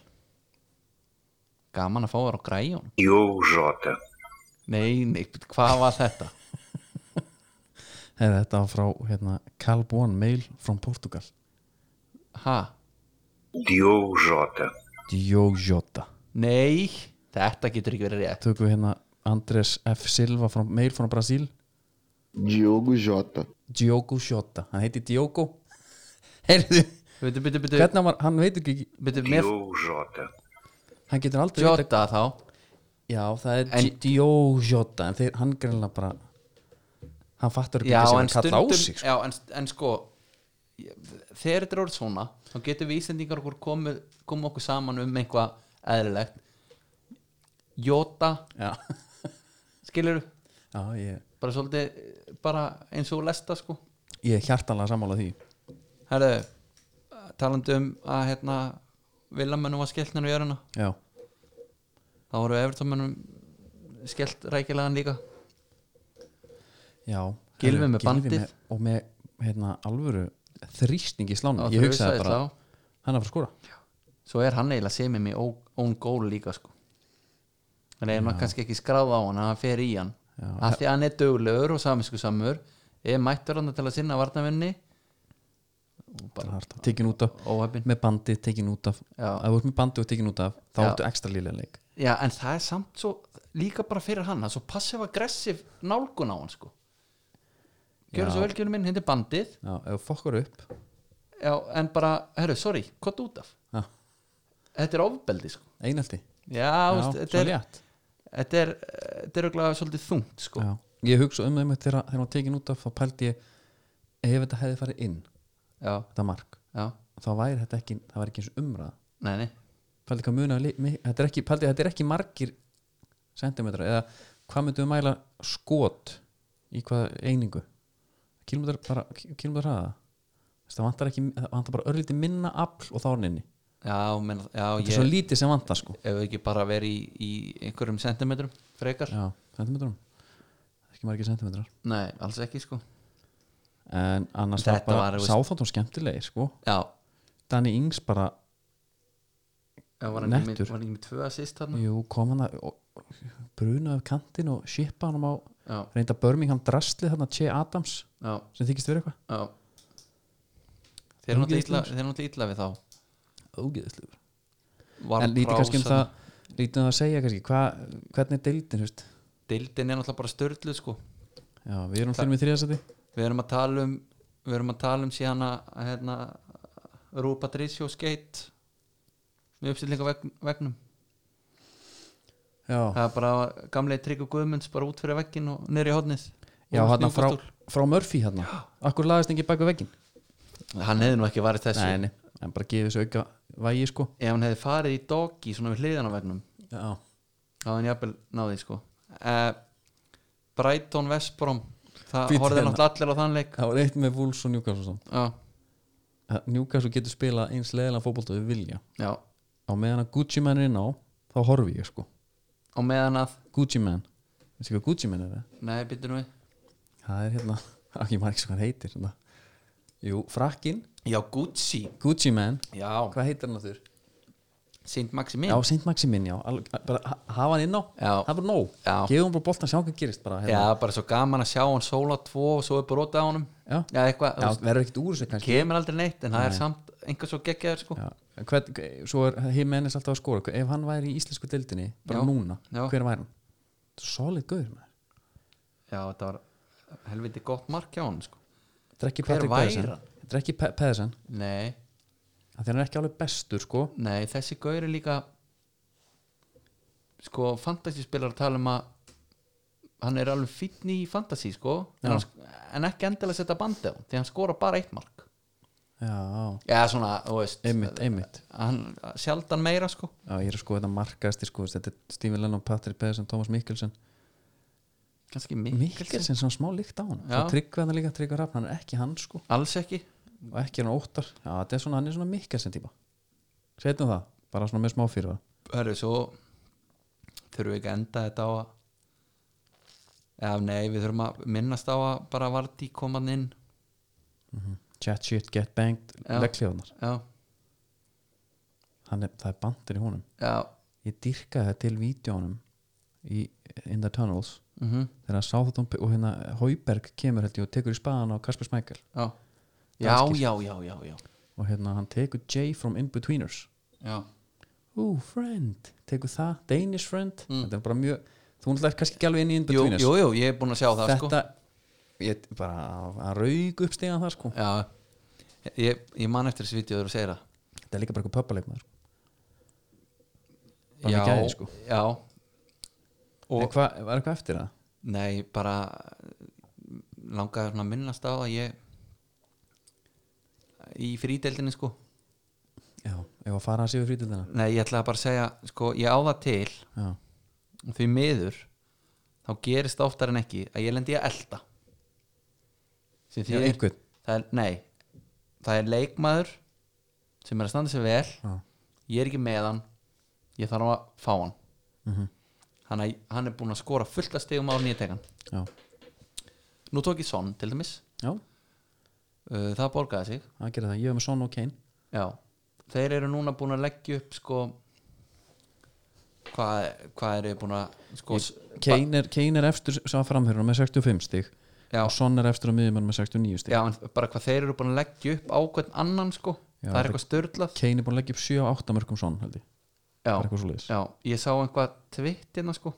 Speaker 1: gaman að fá þar á græjón
Speaker 4: Yo, Jota.
Speaker 1: nei, nei, hvað var þetta?
Speaker 2: Hei, þetta var frá hérna Calb One Mail from Portugal
Speaker 1: ha,
Speaker 4: Yo, Jota.
Speaker 2: Diego Jota
Speaker 1: nei þetta getur ekki verið rétt
Speaker 2: tökum við hérna Andrés F. Silva from, mail frá Brasil
Speaker 5: Diogo Jota.
Speaker 2: Diogo Jota, hann heiti Diogo heyrðu,
Speaker 1: bitu, bitu, bitu,
Speaker 2: hvernig hann var, hann veit ekki
Speaker 1: bitu, mér
Speaker 4: Yo, Jota.
Speaker 2: hann getur aldrei vitað-
Speaker 1: Jota þá
Speaker 2: já, það er
Speaker 1: En-
Speaker 2: en, Diogo Jota en þeir, hann greinlega bara hann fattur ekki
Speaker 1: já,
Speaker 2: sem
Speaker 1: en
Speaker 2: hann kalla á
Speaker 1: stundum
Speaker 2: sig sko.
Speaker 1: já, en, en sko ég- þegar þetta er orðið svona þá getum við Íslendingar okkur komið komið okkur saman um eitthvað eðlilegt Jota,
Speaker 2: já,
Speaker 1: skilur
Speaker 2: já ég,
Speaker 1: bara svolítið, eh, bara eins og lesta sko
Speaker 2: ég er hjartanlega sammála því
Speaker 1: herðu, talandi um að hérna, vilamennum var skellt nær í jöruna,
Speaker 2: já,
Speaker 1: þá voru Evertómennum skellt rækilegan líka
Speaker 2: já
Speaker 1: Gylfi með bandið.
Speaker 2: með, og með hérna alvöru þrýstning í slánum
Speaker 1: Já,
Speaker 2: ég
Speaker 1: þrusaði
Speaker 2: hugsaði bara,
Speaker 1: slá.
Speaker 2: hann er að fara að skora
Speaker 1: svo er hann eiginlega semið mig own goal líka sko þannig er maður kannski ekki skráð á hann að hann fer í hann af því að hann er dögulegur og saminsku samur er mættur hann til að sinna varnavinni
Speaker 2: bara hart, tekin út af
Speaker 1: óhefn
Speaker 2: með bandi, tekin út af
Speaker 1: Já.
Speaker 2: ef þú ert með bandi og tekin út af þá
Speaker 1: Já.
Speaker 2: ertu ekstra lílega leik
Speaker 1: já en það er samt svo líka bara fyrir hann það er svo passiv aggressiv nálgun á hann sko gjörðu svo velgjörðu minn, hindi bandið
Speaker 2: já, ef þú fokkar upp
Speaker 1: já, en bara, herru, sorry, hvað út af
Speaker 2: já,
Speaker 1: þetta er ofbeldi sko
Speaker 2: einaldi
Speaker 1: já,
Speaker 2: já,
Speaker 1: veist,
Speaker 2: svo
Speaker 1: þetta er
Speaker 2: létt
Speaker 1: þetta er, þetta er örugglega svolítið þungt sko
Speaker 2: já. ég hugsa um þeim þegar þegar hann var tekin út af þá pældi ég ef þetta hefði farið inn
Speaker 1: já,
Speaker 2: þetta mark
Speaker 1: já,
Speaker 2: þá væri þetta ekki það væri ekki eins og umræða
Speaker 1: nei, nei
Speaker 2: pældi hvað muna þetta er ekki, pældi, þetta er ekki margir sentimetra eða hvað myndum við mæla skot í hvað einingu kilómetra bara kilómetra hraða Þess, það vantar ekki það vantar bara örlítið minna afl og þá er hann inni
Speaker 1: Já, menn, já
Speaker 2: þetta
Speaker 1: ég,
Speaker 2: er svo lítið sem vantar sko
Speaker 1: ef við ekki bara verið í, í einhverjum sentimetrum frekar
Speaker 2: já, sentimetrum ekki margir sentimetrar
Speaker 1: Nei, alls ekki sko
Speaker 2: en annars
Speaker 1: Þetta
Speaker 2: var
Speaker 1: var,
Speaker 2: bara
Speaker 1: þú veist-
Speaker 2: sáþáttum skemmtilegir sko
Speaker 1: Já,
Speaker 2: Danny Ings bara,
Speaker 1: já var hann ekki
Speaker 2: Nettur.
Speaker 1: með- var hann ekki með tvö assist þarna
Speaker 2: jú, kom hann að bruna af kantinn og shipa hann á
Speaker 1: Já,
Speaker 2: reynda Birmingham drastlið þarna Che Adams
Speaker 1: já,
Speaker 2: sem þykist verið eitthvað
Speaker 1: já Þeir eru náttúrulega illa-
Speaker 2: Ógeðslegur.
Speaker 1: þeir eru náttúrulega illa við þá
Speaker 2: ógeðislegur
Speaker 1: var
Speaker 2: en lítið kannski um
Speaker 1: prásað.
Speaker 2: það lítið um það að segja kannski hva, hvernig er deildin þú veist?
Speaker 1: Deildin er náttúrulega bara störlu sko
Speaker 2: já, við erum fyrir með þriðasæti
Speaker 1: Við erum að tala um Við erum að tala um síðan að hérna, Rú Patricio skeitt með uppstillingavegnum
Speaker 2: já,
Speaker 1: Það er bara gamlega tryggu guðmunds bara út fyrir veggin og niður í hodnið
Speaker 2: já hann hérna frá, frá Murphy hérna akkur lagast ekki bak við veggin
Speaker 1: Hann hefði nú ekki varist þessu
Speaker 2: nei, nei, en bara gefið þessu auka vægi sko
Speaker 1: Ef hann hefði farið í doggi svona við hliðan á vegnum
Speaker 2: já,
Speaker 1: þá hefði hann jafnvel náði sko uh, Brighton Vestbrom það
Speaker 2: Bíddu
Speaker 1: horfði
Speaker 2: hérna.
Speaker 1: náttúrulega allir á þann leik
Speaker 2: það var eitt með Wolves og Newcastle samt.
Speaker 1: já,
Speaker 2: Að Newcastle getur spilað eins leðilega fótbolta við vilja
Speaker 1: já,
Speaker 2: á meðan að Gucci Man er inn á þá horfi ég sko
Speaker 1: og meðan að
Speaker 2: Gucci Man, veistu hvað Gucci Man er það?
Speaker 1: nei, býttu nú við
Speaker 2: það er hérna, ekki maður ekki svo hvað hann heitir hérna. jú, frakkin
Speaker 1: já, Gucci,
Speaker 2: Gucci Man,
Speaker 1: já,
Speaker 2: hvað heitir hann að þurr?
Speaker 1: Sint Maximin
Speaker 2: já, Saint Maximin, já, alveg, bara ha- hafa hann inn á
Speaker 1: Já.
Speaker 2: það er bara nóg,
Speaker 1: Já.
Speaker 2: gefum hann bara boltan, sjá hvað gerist bara, hérna.
Speaker 1: já, bara svo gaman að sjá hann sóla tvo og svo er brotið á honum
Speaker 2: Já.
Speaker 1: já eitthvað,
Speaker 2: já
Speaker 1: þú veist,
Speaker 2: verður ekkert úr þessu kannski
Speaker 1: kemur aldrei neitt en það er samt einhver svo geggjaður sko
Speaker 2: Já, hvern, svo er Jimenez alltaf að skora ef hann væri í íslensku deildinni bara
Speaker 1: Já,
Speaker 2: núna,
Speaker 1: já.
Speaker 2: hver væri hann? solid gaur maður
Speaker 1: já, þetta var helviti gott mark hjá honum sko
Speaker 2: þetta er ekki
Speaker 1: Hver
Speaker 2: Patrick
Speaker 1: væri
Speaker 2: Pedersen
Speaker 1: hann?
Speaker 2: þetta er ekki Pe Pedersen,
Speaker 1: nei,
Speaker 2: af því hann er ekki alveg bestur sko,
Speaker 1: nei, þessi gaur er líka sko fantasyspilar tala um að hann er alveg fínn í fantasy sko en, hann, en ekki endilega setja bandi á hann, því hann skora bara eitt mark
Speaker 2: já,
Speaker 1: já, svona, þú veist
Speaker 2: einmitt, einmitt
Speaker 1: hann sjaldan meira sko
Speaker 2: já, ég er að sko þetta markaðasti sko þetta er Stephen Lennon, Patrick Pedersen, Thomas Mikkelsen
Speaker 1: kannski mikil
Speaker 2: Mikkelsen sem smá líkt á hann
Speaker 1: Já.
Speaker 2: svo tryggva hann líka, tryggva rafn, hann er ekki hann sko
Speaker 1: alls ekki
Speaker 2: og ekki hann óttar, já, þetta er svona hann er svona Mikkelsen típa, setjum það bara svona með smá fyrir það
Speaker 1: Hörru, svo þurfum við ekki að enda þetta á að eða nei, við þurfum að minnast á að bara Vardí koman inn
Speaker 2: chat shit, get banged,
Speaker 1: Já.
Speaker 2: leggljóðnar
Speaker 1: já,
Speaker 2: það er bandir í honum
Speaker 1: já,
Speaker 2: ég dyrkaði það til vídjónum í In the Tunnels
Speaker 1: mm
Speaker 2: þegar Sáþóttón og hérna Hauberg kemur held ég og tekur í spaðan á Kasper Smækkel
Speaker 1: já já, já, já, já, já
Speaker 2: og hérna hann tekur J from Inbetweeners
Speaker 1: já,
Speaker 2: Ooh, friend, tekur það, Danish friend þetta er bara mjög, þú náttúrulega er kannski ekki alveg inn í
Speaker 1: Mm. jú,
Speaker 2: Inbetweeners
Speaker 1: jú, jú, ég er búin að sjá það sko
Speaker 2: þetta, ég bara að raug upp stegan það sko
Speaker 1: já, ég, ég man eftir þessi vídeo þegar þú segir það
Speaker 2: þetta er líka bara eitthvað pöppaleikmaður Bara
Speaker 1: já,
Speaker 2: með gæði, sko.
Speaker 1: já, Og-
Speaker 2: en hvað, var eitthvað eftir það?
Speaker 1: nei, bara langaði svona að minnast á að ég í frídeldinni sko
Speaker 2: já, ef að fara að séu frítildina
Speaker 1: nei, ég ætlaði bara að segja, sko, ég á það til
Speaker 2: já,
Speaker 1: og því miður þá gerist það oftar en ekki að ég lendi í að elda sem
Speaker 2: Já,
Speaker 1: þýðir-
Speaker 2: einhvern.
Speaker 1: það er, nei, það er leikmaður sem er að standa sér vel
Speaker 2: já,
Speaker 1: ég er ekki með hann ég þarf að fá hann
Speaker 2: Mhm.
Speaker 1: hann, er, hann er búin að skora fullt að stegum á nýjatekan
Speaker 2: já,
Speaker 1: nú tók ég sonn til dæmis
Speaker 2: já,
Speaker 1: uh, það borgaði sig
Speaker 2: það gerir það, ég hef með Son og Kane
Speaker 1: Já, þeir eru núna búin að leggja upp sko hvað, hvað eru búin að sko, s-
Speaker 2: Kane er, Kane er eftir sá framherjum með 65 stig
Speaker 1: Já.
Speaker 2: og Son er eftir á miðjumann með 69 stig
Speaker 1: já, en bara hvað þeir eru búin að leggja upp á hvern annan sko það
Speaker 2: Já, það-
Speaker 1: er eitthvað störlað
Speaker 2: Kane er búin að leggja upp 7 á 8 mörgum Son held ég það er
Speaker 1: já,
Speaker 2: eitthvað svo leiðis
Speaker 1: já, ég sá einhvað tvittina sko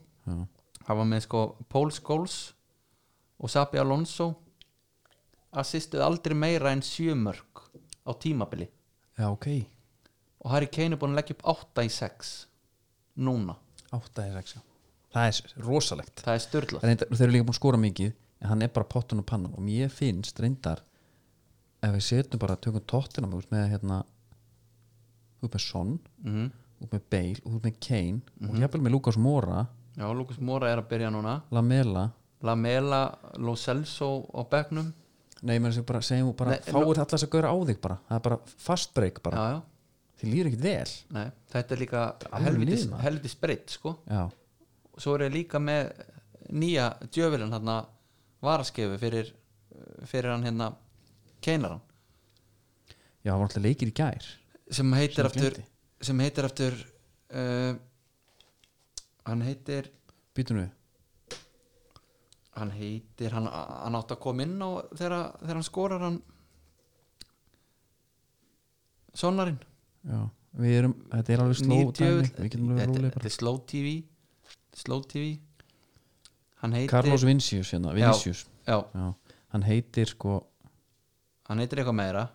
Speaker 1: það var með sko Paul Scholes og Sabi Alonso assistuð aldrei meira en sjömörk á tímabili
Speaker 2: já ok,
Speaker 1: og Harry Kane er búin að leggja upp 8 í 6 núna,
Speaker 2: 8 er 6 það er rosalegt
Speaker 1: það er störlað
Speaker 2: reyndar, þeir eru líka búin að skora mikið en hann er bara pottun og pannan og mér finnst reyndar ef við setjum bara tökum tóttina með hérna út með Son,
Speaker 1: mm.
Speaker 2: út með Bale út með Kane
Speaker 1: Mhm.
Speaker 2: og jafnvel með Lucas Mora
Speaker 1: já, Lucas Mora er að byrja núna
Speaker 2: Lamela
Speaker 1: Lamela, Lo Celso á bekknum
Speaker 2: Nei, menn sem bara segjum bara,
Speaker 1: Nei,
Speaker 2: fáið alltaf þess að gauðra á þig bara það er bara fast break bara
Speaker 1: já, já,
Speaker 2: þið líður ekkert vel
Speaker 1: nei, þetta er líka
Speaker 2: alveg
Speaker 1: helvitis,
Speaker 2: niður, maður.
Speaker 1: helvitis breytt sko
Speaker 2: já,
Speaker 1: og svo er ég líka með nýja djöfilin hérna varaskefi fyrir, fyrir hann hérna keinaran
Speaker 2: já, það var alltaf leikir í gær
Speaker 1: sem heitir
Speaker 2: Sem
Speaker 1: aftur
Speaker 2: gleymdi.
Speaker 1: sem heitir aftur uh, hann heitir
Speaker 2: býtum við,
Speaker 1: hann heitir, hann, hann átt að koma inn á þegar, þegar hann skorar hann sonarinn
Speaker 2: já, við erum þetta er alveg sló dæmi, við getum alveg
Speaker 1: þetta
Speaker 2: rúlega
Speaker 1: þetta
Speaker 2: bara
Speaker 1: er Slow TV Slow TV hann heitir
Speaker 2: Carlos Vincius, hérna, Vincius
Speaker 1: já,
Speaker 2: já, hann heitir sko
Speaker 1: hann heitir eitthvað meira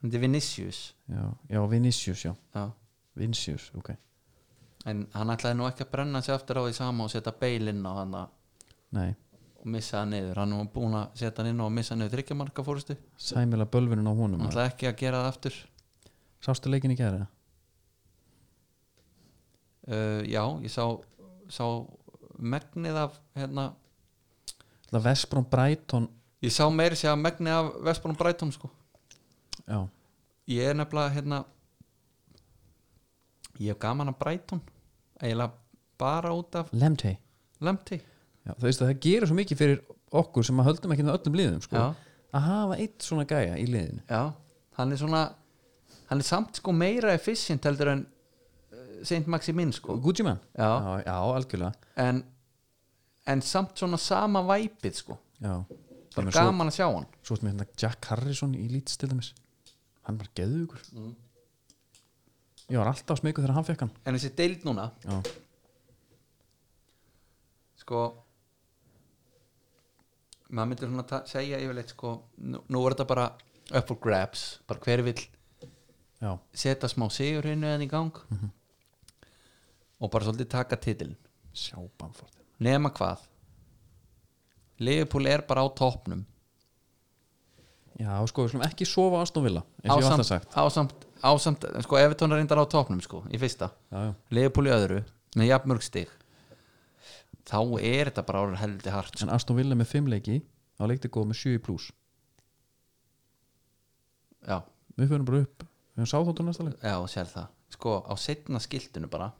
Speaker 1: hann heitir Vinicius
Speaker 2: já, já Vincius, já,
Speaker 1: já.
Speaker 2: Vincius ok,
Speaker 1: en hann ætlaði nú ekki að brenna sig aftur á því sama og setja beilinn á hann og
Speaker 2: nei,
Speaker 1: missa hann niður hann var búin að setja hann inn á og missa hann niður þryggjamarka fórustu hann
Speaker 2: sæmila bölvinin á honum maður.
Speaker 1: ætlaði ekki að gera það aftur
Speaker 2: sástu leikin í gær eða?
Speaker 1: uh, já, ég sá, sá megnið af hérna
Speaker 2: það Vesbrón Brighton
Speaker 1: Ég sá meiri segja megni af Vestbónum Brighton sko.
Speaker 2: já,
Speaker 1: Ég er nefnilega hérna Ég hef gaman af Brighton eiginlega bara út af
Speaker 2: Lemtey
Speaker 1: Lemti
Speaker 2: já, það, veist, að það gerir svo mikið fyrir okkur sem að höldum ekki með öllum liðum sko,
Speaker 1: Já.
Speaker 2: að hafa eitt svona gæja í liðinu
Speaker 1: Já, hann er svona hann er samt sko meira efficient heldur en uh, Saint Maximin sko
Speaker 2: Gucci man,
Speaker 1: Já.
Speaker 2: já, já algjörlega
Speaker 1: en, en samt svona sama væpið sko
Speaker 2: já.
Speaker 1: Bara
Speaker 2: Dæmi, svo,
Speaker 1: gaman að sjá hann
Speaker 2: svo ertum við hérna Jack Harrison í lítið til dæmis hann var geðugur
Speaker 1: Mm.
Speaker 2: ég var alltaf smikuð þegar hann fekk hann
Speaker 1: en þessi deild núna
Speaker 2: já,
Speaker 1: sko maður myndir svona ta- segja yfirleitt sko nú, nú er þetta bara up for grabs bara hver vill
Speaker 2: já,
Speaker 1: setja smá sigur hinnu en í gang
Speaker 2: Mhm.
Speaker 1: og bara svolítið taka titilin
Speaker 2: sjá Bamford
Speaker 1: nema hvað Liverpool er bara á toppnum
Speaker 2: já, sko, við skulum ekki sofa Aston Villa eins og ég var alltaf
Speaker 1: ásamt,
Speaker 2: sagt
Speaker 1: ásamt, ásamt sko Evertón er reyndar á toppnum sko í fyrsta,
Speaker 2: já, já.
Speaker 1: Leopold í öðru með jafnmörg stig þá er þetta bara orðin heldi hart sko.
Speaker 2: en Aston Villa með 5 leiki á leikti góð með 7 í pluss
Speaker 1: já,
Speaker 2: við fyrir bara upp, við höfum sáþóttur næsta leik
Speaker 1: já, sér það sko á setna skiltinu bara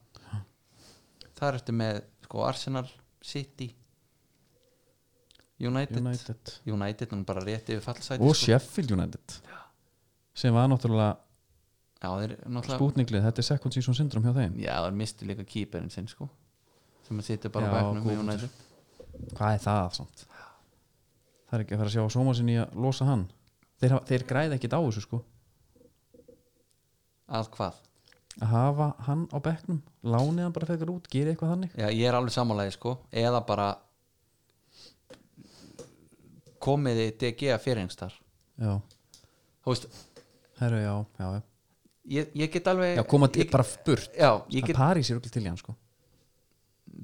Speaker 1: þar ertu með sko Arsenal, City United United,
Speaker 2: United
Speaker 1: hún er bara rétt yfir fallsæti
Speaker 2: og
Speaker 1: sko.
Speaker 2: Sheffield United sem var náttúrulega
Speaker 1: já, þeir náttúrulega
Speaker 2: spútninglið, þetta er second season syndrom hjá þeim
Speaker 1: já, þeir misti líka kýperinn sinn sko sem að sitja bara
Speaker 2: Já,
Speaker 1: á bæknum með
Speaker 2: Guðmundur.
Speaker 1: United
Speaker 2: hvað er það samt það er ekki að fara að sjá Soma sinni að losa hann þeir, hafa- þeir græði ekkit á þessu sko
Speaker 1: að hvað?
Speaker 2: að hafa hann á bekknum lánið hann bara fekar út, gera eitthvað þannig
Speaker 1: Já, ég er alveg samanlega sko eða bara komiði DG að fyrirhengstar
Speaker 2: já,
Speaker 1: þú veist,
Speaker 2: herru já, já, já.
Speaker 1: ég, ég get alveg
Speaker 2: já koma til
Speaker 1: ég,
Speaker 2: bara burt
Speaker 1: já, ég
Speaker 2: að
Speaker 1: get,
Speaker 2: París er okkur til í hann sko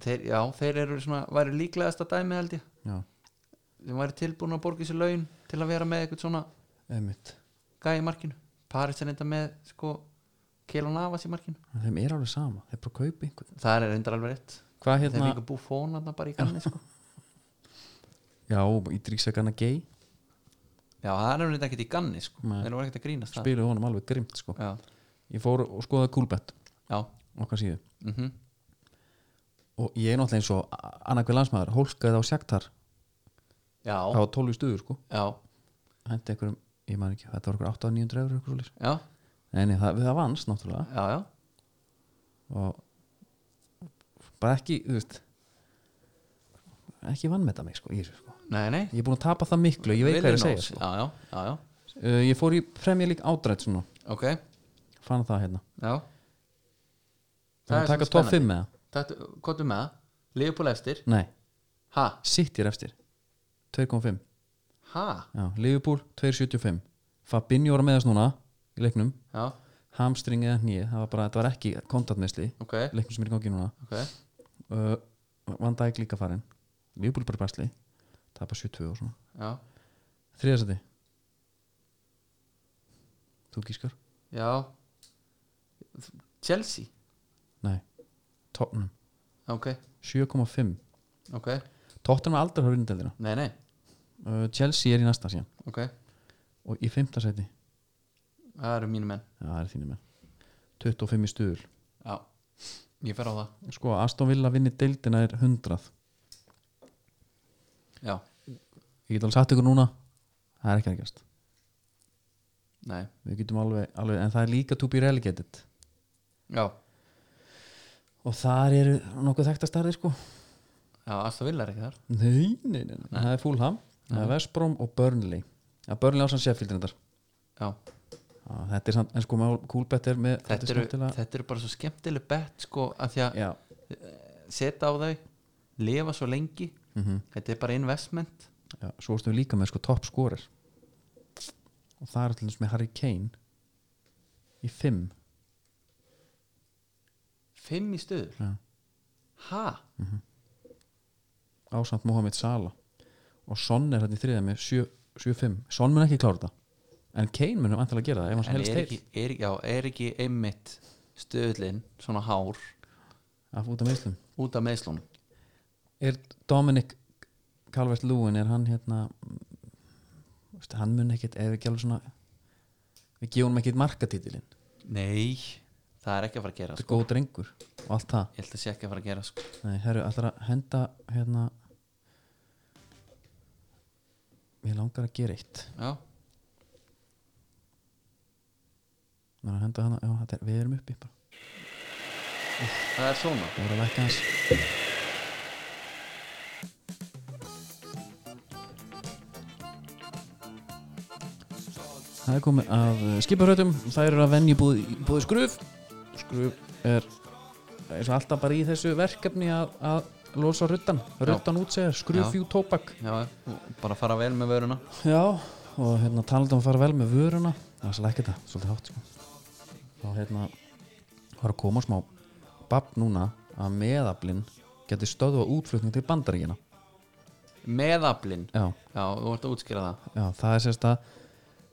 Speaker 1: þeir, já, þeir eru svona væri líklegasta dæmi held ég
Speaker 2: já,
Speaker 1: sem væri tilbúin að borga þessi laun til að vera með eitthvað svona
Speaker 2: einmitt
Speaker 1: gæi í markinu Paris er enda með sko Kjellan Navas í markinu
Speaker 2: þeim er alveg sama, þeir bara kaupi einhvern
Speaker 1: það er enda alveg rétt
Speaker 2: hvað
Speaker 1: þeir
Speaker 2: hérna,
Speaker 1: líka búið fónan bara í kanni sko
Speaker 2: já, í dríksækana gay
Speaker 1: já, það er enda ekkert í ganni sko
Speaker 2: Nei.
Speaker 1: þeir eru ekkert að grínast það
Speaker 2: spiluðu honum alveg grimt sko
Speaker 1: já,
Speaker 2: ég fór og skoðaði Coolbet
Speaker 1: já,
Speaker 2: okkar síðu
Speaker 1: mhm
Speaker 2: og ég er náttúrulega eins og annarkveð landsmaður hólkaði á sjaktar
Speaker 1: já,
Speaker 2: það var 12 stuður sko
Speaker 1: já,
Speaker 2: hendi einhverjum, ég man ekki, þetta var einhver 800-900 eurur eitthvað svolítið
Speaker 1: já
Speaker 2: en það, það vannst náttúrulega
Speaker 1: já, já,
Speaker 2: og bara ekki, þú veist ekki vannmeta mig sko, í þessu, sko.
Speaker 1: nei, nei
Speaker 2: ég er búin að tapa það miklu, ég veit hvað ég er að segja sko.
Speaker 1: já, já, já, já,
Speaker 2: uh, ég fór í Premier League átrætt svona,
Speaker 1: ok
Speaker 2: fann það hérna
Speaker 1: já
Speaker 2: það er að taka top 5 með
Speaker 1: Þetta, hvað er með það? Liverpool eftir
Speaker 2: það nei,
Speaker 1: ha,
Speaker 2: City er eftir 2.5
Speaker 1: ha,
Speaker 2: já, Liverpool 2.75 Fabinho var með þess núna í leiknum
Speaker 1: já,
Speaker 2: hamstring eða nýja, það var bara, þetta var ekki kontaktnesli,
Speaker 1: ok,
Speaker 2: leiknum sem er í gangi núna
Speaker 1: ok já,
Speaker 2: uh, Van Dijk líka farin Liverpool bara basli það er bara 72 og svona þriðasæti þú gískar?
Speaker 1: já Chelsea,
Speaker 2: nei, Tottenham
Speaker 1: ok,
Speaker 2: 7,5
Speaker 1: ok
Speaker 2: Tottenham er aldrei hafði vindeldina
Speaker 1: nei, nei,
Speaker 2: uh, Chelsea er í næsta síðan
Speaker 1: ok
Speaker 2: og í fimmtasæti,
Speaker 1: það eru mínu menn,
Speaker 2: já það er þínu með 25 í stuðul
Speaker 1: já ég fer á það,
Speaker 2: sko, Aston Villa vinni deildina er 100
Speaker 1: já,
Speaker 2: ég get alveg sagt ykkur núna það er ekki að gerast
Speaker 1: nei
Speaker 2: við getum alveg, alveg, en það er líka to be relegated
Speaker 1: já,
Speaker 2: og þar eru nokkuð þekta starði sko
Speaker 1: já, Aston Villa er ekki þar
Speaker 2: nei, nei, nei, nei. það er Fulham það er Vestbrom og Burnley ja, Burnley ásann Sheffield reyndar
Speaker 1: já,
Speaker 2: Já, þetta er samt, en sko með Coolbet er með
Speaker 1: þetta,
Speaker 2: er
Speaker 1: eru,
Speaker 2: skemmtilega-
Speaker 1: þetta eru bara svo skemmtileg bett sko, að því að
Speaker 2: Já,
Speaker 1: setja á þau lifa svo lengi
Speaker 2: Mhm.
Speaker 1: þetta er bara investment
Speaker 2: já, svo erum við líka með sko topp skorir og það er alltaf með Harry Kane í fimm
Speaker 1: fimm í stöður
Speaker 2: Já.
Speaker 1: ha,
Speaker 2: ásamt Mohamed Salah og Son er hérna í þriða með 7-5 Son mun ekki klára þetta en Kane munum antalega gera það ef hann
Speaker 1: en
Speaker 2: helst
Speaker 1: er
Speaker 2: heil
Speaker 1: ekki, er, já, er ekki einmitt stöðlin svona hár
Speaker 2: af út af meðslum
Speaker 1: út af meðslunum
Speaker 2: Er Dominic Calvert Lúin er hann hérna mm, veist, hann mun ekkit ef ekki alveg svona við gefum ekkit markatitilinn þetta
Speaker 1: Nei, það er ekki að fara að gera
Speaker 2: er
Speaker 1: sko.
Speaker 2: góð drengur og allt það
Speaker 1: Ég held að það sé ekki að fara að gera sko.
Speaker 2: Nei, herru, ætlar að henda hérna Mér langar að gera eitt
Speaker 1: Já,
Speaker 2: Mér að henda hana, já, þetta er, við erum uppi bara
Speaker 1: það er svona
Speaker 2: Það voru að lækka hans Það er komið að skiparhautum Það eru að venju búið, búið skruf Skruf er eins og alltaf bara í þessu verkefni að, að losa ruttan, ruttan útsegar
Speaker 1: Já.
Speaker 2: skrufjú tóbak
Speaker 1: Já, og bara fara vel með vöruna
Speaker 2: Já, og hérna talandi um að fara vel með vöruna það er svo lækkið það, svolítið hátt sko. og hérna var að koma smá babb núna að meðablin geti stöðva útflutning til bandaríkina
Speaker 1: Meðablin
Speaker 2: já,
Speaker 1: Já, þú ert að útskýra það
Speaker 2: já, það er sérst að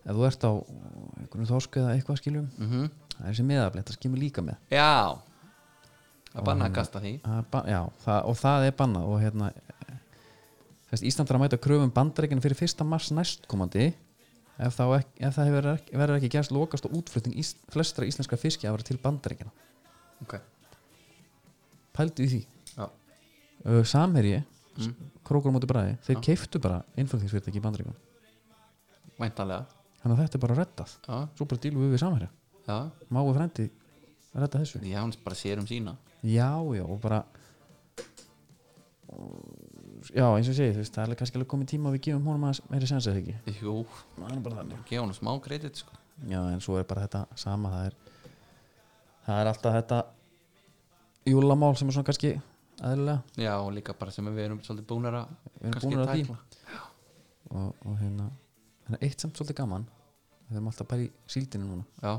Speaker 2: ef þú ert á einhvern þorsku eða eitthvað skiljum -hmm. það er þessi meðablin, þetta skimur líka með
Speaker 1: Já Það banna að kasta því
Speaker 2: Það er ba- já, það, og það er bannað og hérna þess, Ísland er að mæta kröfum bandaríkina fyrir 1. mars næstkomandi ef, þá ek, ef það hefur ekki, verður ekki gerst lokast og útflutning ís, flestra íslenska fiski að vera til bandaríkina
Speaker 1: Ok,
Speaker 2: pældu í því
Speaker 1: já,
Speaker 2: uh, Samherji, mm. krókur á móti bræði þeir keiftu bara innflutningsfyrirtæki í bandaríkina
Speaker 1: væntanlega
Speaker 2: þannig að þetta er bara reddað
Speaker 1: Já,
Speaker 2: svo bara dílum við við Samherja
Speaker 1: já,
Speaker 2: máu frendi að redda þessu
Speaker 1: já, hún bara sér um sína
Speaker 2: já, já, og bara já, eins og ég segi, þú veist, það er alveg kannski alveg komið tíma að við gefum honum aðeins meiri sens eða ekki
Speaker 1: Jú,
Speaker 2: það er bara þannig
Speaker 1: gefa hún smá kredit sko.
Speaker 2: já, en svo er bara þetta sama það er, það er alltaf þetta júlamál sem er svona kannski eðlilega
Speaker 1: Já, og líka bara sem við erum svolítið búnar að
Speaker 2: Við erum
Speaker 1: kannski
Speaker 2: búnar að því.
Speaker 1: tækla.
Speaker 2: og, og hérna, hérna eitt samt svolítið gaman við erum alltaf bara í síldinu núna
Speaker 1: Já,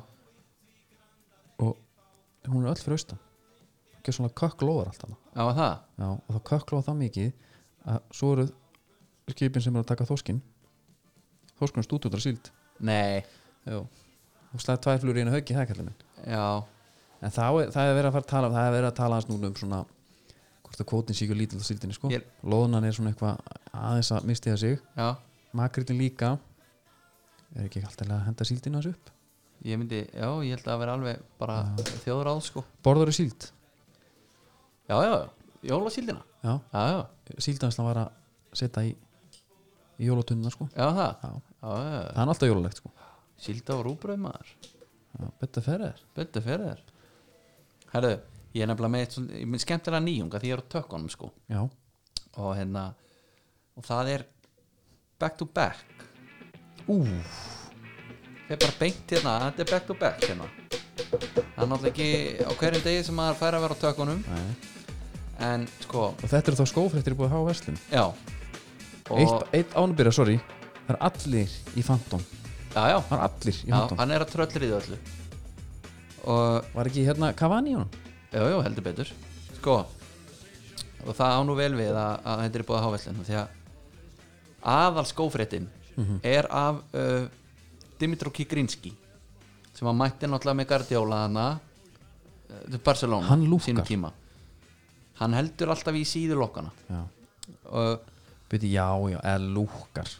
Speaker 2: og hún er öll fyrir austan ekki svona kökklóðar alltaf
Speaker 1: já, var það
Speaker 2: já, og það kökklóða það mikið að svo eru skipin sem eru að taka þorskin þorskunum stúdjóttar síld
Speaker 1: Nei,
Speaker 2: já og slæði tvær flúri einu höggi, það er kallið minn
Speaker 1: já,
Speaker 2: En það er, það er verið að fara að tala það er verið að tala hans núna um svona hvort að kvótin sé ekki lítil á síldinni sko
Speaker 1: Ég-
Speaker 2: Lóðunan er svona eitthvað aðeins að mistiða sig
Speaker 1: já
Speaker 2: Makritin líka er ekki alltaf að henda síldinu hans upp
Speaker 1: Ég myndi, já, ég held að vera alveg bara þjóðráð sko
Speaker 2: Borður er síld
Speaker 1: Já, já, já, jólasíldina
Speaker 2: Já,
Speaker 1: Já, já,
Speaker 2: síldanslan var að setja í, í jólatunna sko
Speaker 1: já, það
Speaker 2: Já.
Speaker 1: Já, já, já,
Speaker 2: Það er alltaf jólalegt sko
Speaker 1: sílda og rúbröð maður
Speaker 2: Já, Betta ferða þér
Speaker 1: Böldu fyrir þér Herðu, ég er nefnilega með eitt svona- ég minn skemmtilega nýjunga því ég er á tökkunum sko
Speaker 2: Já,
Speaker 1: og hérna og það er back to back
Speaker 2: ú,
Speaker 1: þeir bara beint hérna, þetta er back to back hérna það er náttúrulega ekki á hverjum degi sem maður fær að vera á tökunum
Speaker 2: Nei.
Speaker 1: en sko,
Speaker 2: og þetta eru þá skófréttir búið að hafa verslun
Speaker 1: já
Speaker 2: Eitt, eitt ánbyrja, sorry Það er allir í Phantom
Speaker 1: já, já,
Speaker 2: Það er allir í
Speaker 1: já,
Speaker 2: Phantom
Speaker 1: hann er að tröllriði öllu og,
Speaker 2: Var ekki hérna Cavani í honum?
Speaker 1: já, já, heldur betur sko og það á nú vel við að, að þetta er búið að háveslun því að aðal skófréttin
Speaker 2: Mhm.
Speaker 1: er af uh, Dimitrov Kikrinski sem að mætti náttúrulega með Guardiola hana uh, Barcelona
Speaker 2: Hann lúkkar.
Speaker 1: sínum tíma hann heldur alltaf í síðulokkana
Speaker 2: Já
Speaker 1: og
Speaker 2: Byrði, já, já, eða lúkar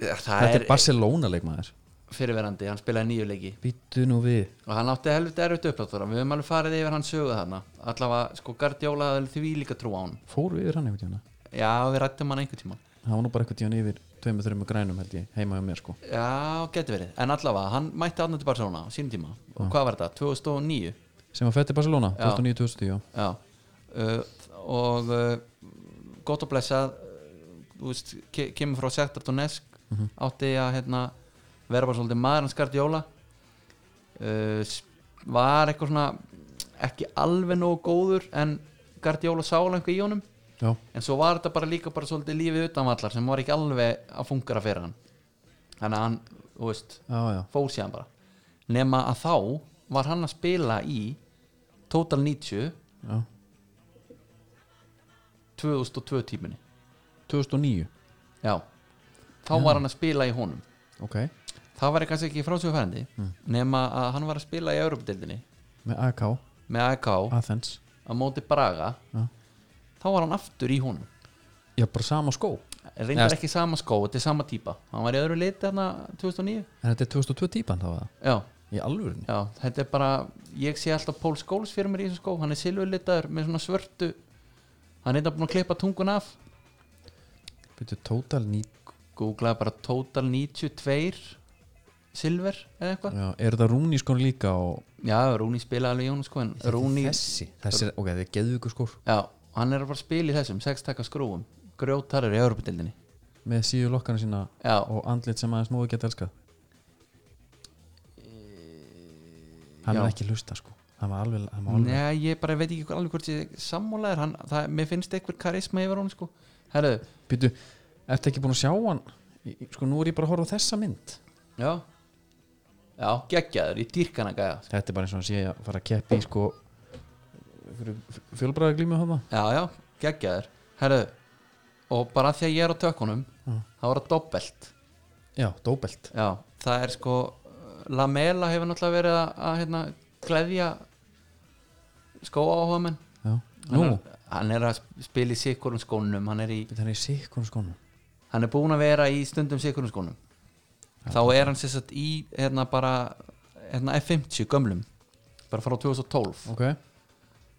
Speaker 1: það
Speaker 2: Þetta er
Speaker 1: er
Speaker 2: Barcelona leikmaður
Speaker 1: fyrirverandi, hann spilaði nýju leiki
Speaker 2: Býttu nú við
Speaker 1: og hann átti helviti erfitt uppláttúra við höfum alveg farið yfir hann söguð hana allavega sko Guardiola hafði því líka trú á hann
Speaker 2: Fóru yfir hann einhvern tíma
Speaker 1: já við rættum hann einhvern tíma
Speaker 2: Það var nú bara einhvern tíma yfir Tveimur, þreimur grænum held ég Heima hjá mér sko
Speaker 1: Já, getur verið, en allavega, hann mætti aðnönd til Barcelona á sínum tíma og hvað var þetta, 2009
Speaker 2: Sem var fætt í Barcelona
Speaker 1: Já.
Speaker 2: 2009-2010
Speaker 1: Já, uh, og uh, gott og blessað uh, þú veist, ke kemur frá Sektar Donetsk átti að hérna, vera bara svolítið maður hans Gardiola uh, s- var eitthvað svona ekki alveg nógu góður en Gardiola sála einhver í honum
Speaker 2: Já
Speaker 1: en svo var þetta bara líka bara svolítið lífið utanvallar sem var ekki alveg að fungera fyrir hann þannig að hann, þú veist
Speaker 2: Já, já
Speaker 1: fór síðan bara nema að þá var hann að spila í Total 90
Speaker 2: Já
Speaker 1: 2002 tíminni
Speaker 2: 2009
Speaker 1: já, þá var hann að spila í honum
Speaker 2: Ok
Speaker 1: það var kannski ekki frásögufærandi mm. nema að hann var að spila í Europadeildinni
Speaker 2: Með AK
Speaker 1: með AK
Speaker 2: Athens
Speaker 1: á móti Braga
Speaker 2: Já.
Speaker 1: þá var hann aftur í honum
Speaker 2: Já, bara sama skó
Speaker 1: reyndar
Speaker 2: Já.
Speaker 1: ekki sama skó, þetta er sama típa hann var í öðru lit þarna 2009
Speaker 2: En þetta er 2002 típan þá eða?
Speaker 1: já,
Speaker 2: Í alvörinni?
Speaker 1: já, þetta er bara ég sé alltaf Pól Skóls fyrir mér í þessu skó hann er silfurlitaður með svona svörtu hann er þetta búin að klippa tungun af
Speaker 2: Byrju, total ný
Speaker 1: googlaði bara total 92 silver eða eitthvað
Speaker 2: Já, er þetta Rúni skor líka og
Speaker 1: já, Rúni spilaði alveg í honum sko en Rúni,
Speaker 2: þessi? Þessi, ok, þetta er geðvíku skor
Speaker 1: já, hann er að fara að spila í þessum sextakka skrúum, grjótarur í Europatildinni
Speaker 2: með síðu lokkana sína
Speaker 1: Já.
Speaker 2: og andlit sem aðeins móðu geta elskað
Speaker 1: Eh,
Speaker 2: Hann
Speaker 1: já. Mm.
Speaker 2: er ekki að hlusta sko Hann var alveg, hann var alveg
Speaker 1: Nei, ég bara veit ekki alveg hvort ég sammálaðir hann, það, mér finnst eitthvað karisma yfir hún sko, herðu,
Speaker 2: Býtu, ertu ekki búin að sjá hann? Í- í- Sko, nú er ég bara að horfa á þessa mynd
Speaker 1: já já, geggjaður, ég dýrkan að gæja
Speaker 2: Þetta er bara eins og hann sé að fara að keppi í sko fjölbræða glímu hann
Speaker 1: já, já, geggjaður, herðu og bara af því að ég er á tökunum það var að dobbelt,
Speaker 2: Já, dóbelt
Speaker 1: já, það er sko Lamela hefur náttúrulega verið að, að hérna, gleðja skóa áhuga menn
Speaker 2: Já. Nú,
Speaker 1: hann, er- hann er að spila í sikurum skónum hann er í
Speaker 2: býtu hann er í sikkunum skónum
Speaker 1: hann er búinn að vera í stundum sikurum skónum þá er hann sérstætt í hérna bara hérna F50 gömlum bara frá 2012
Speaker 2: Ok,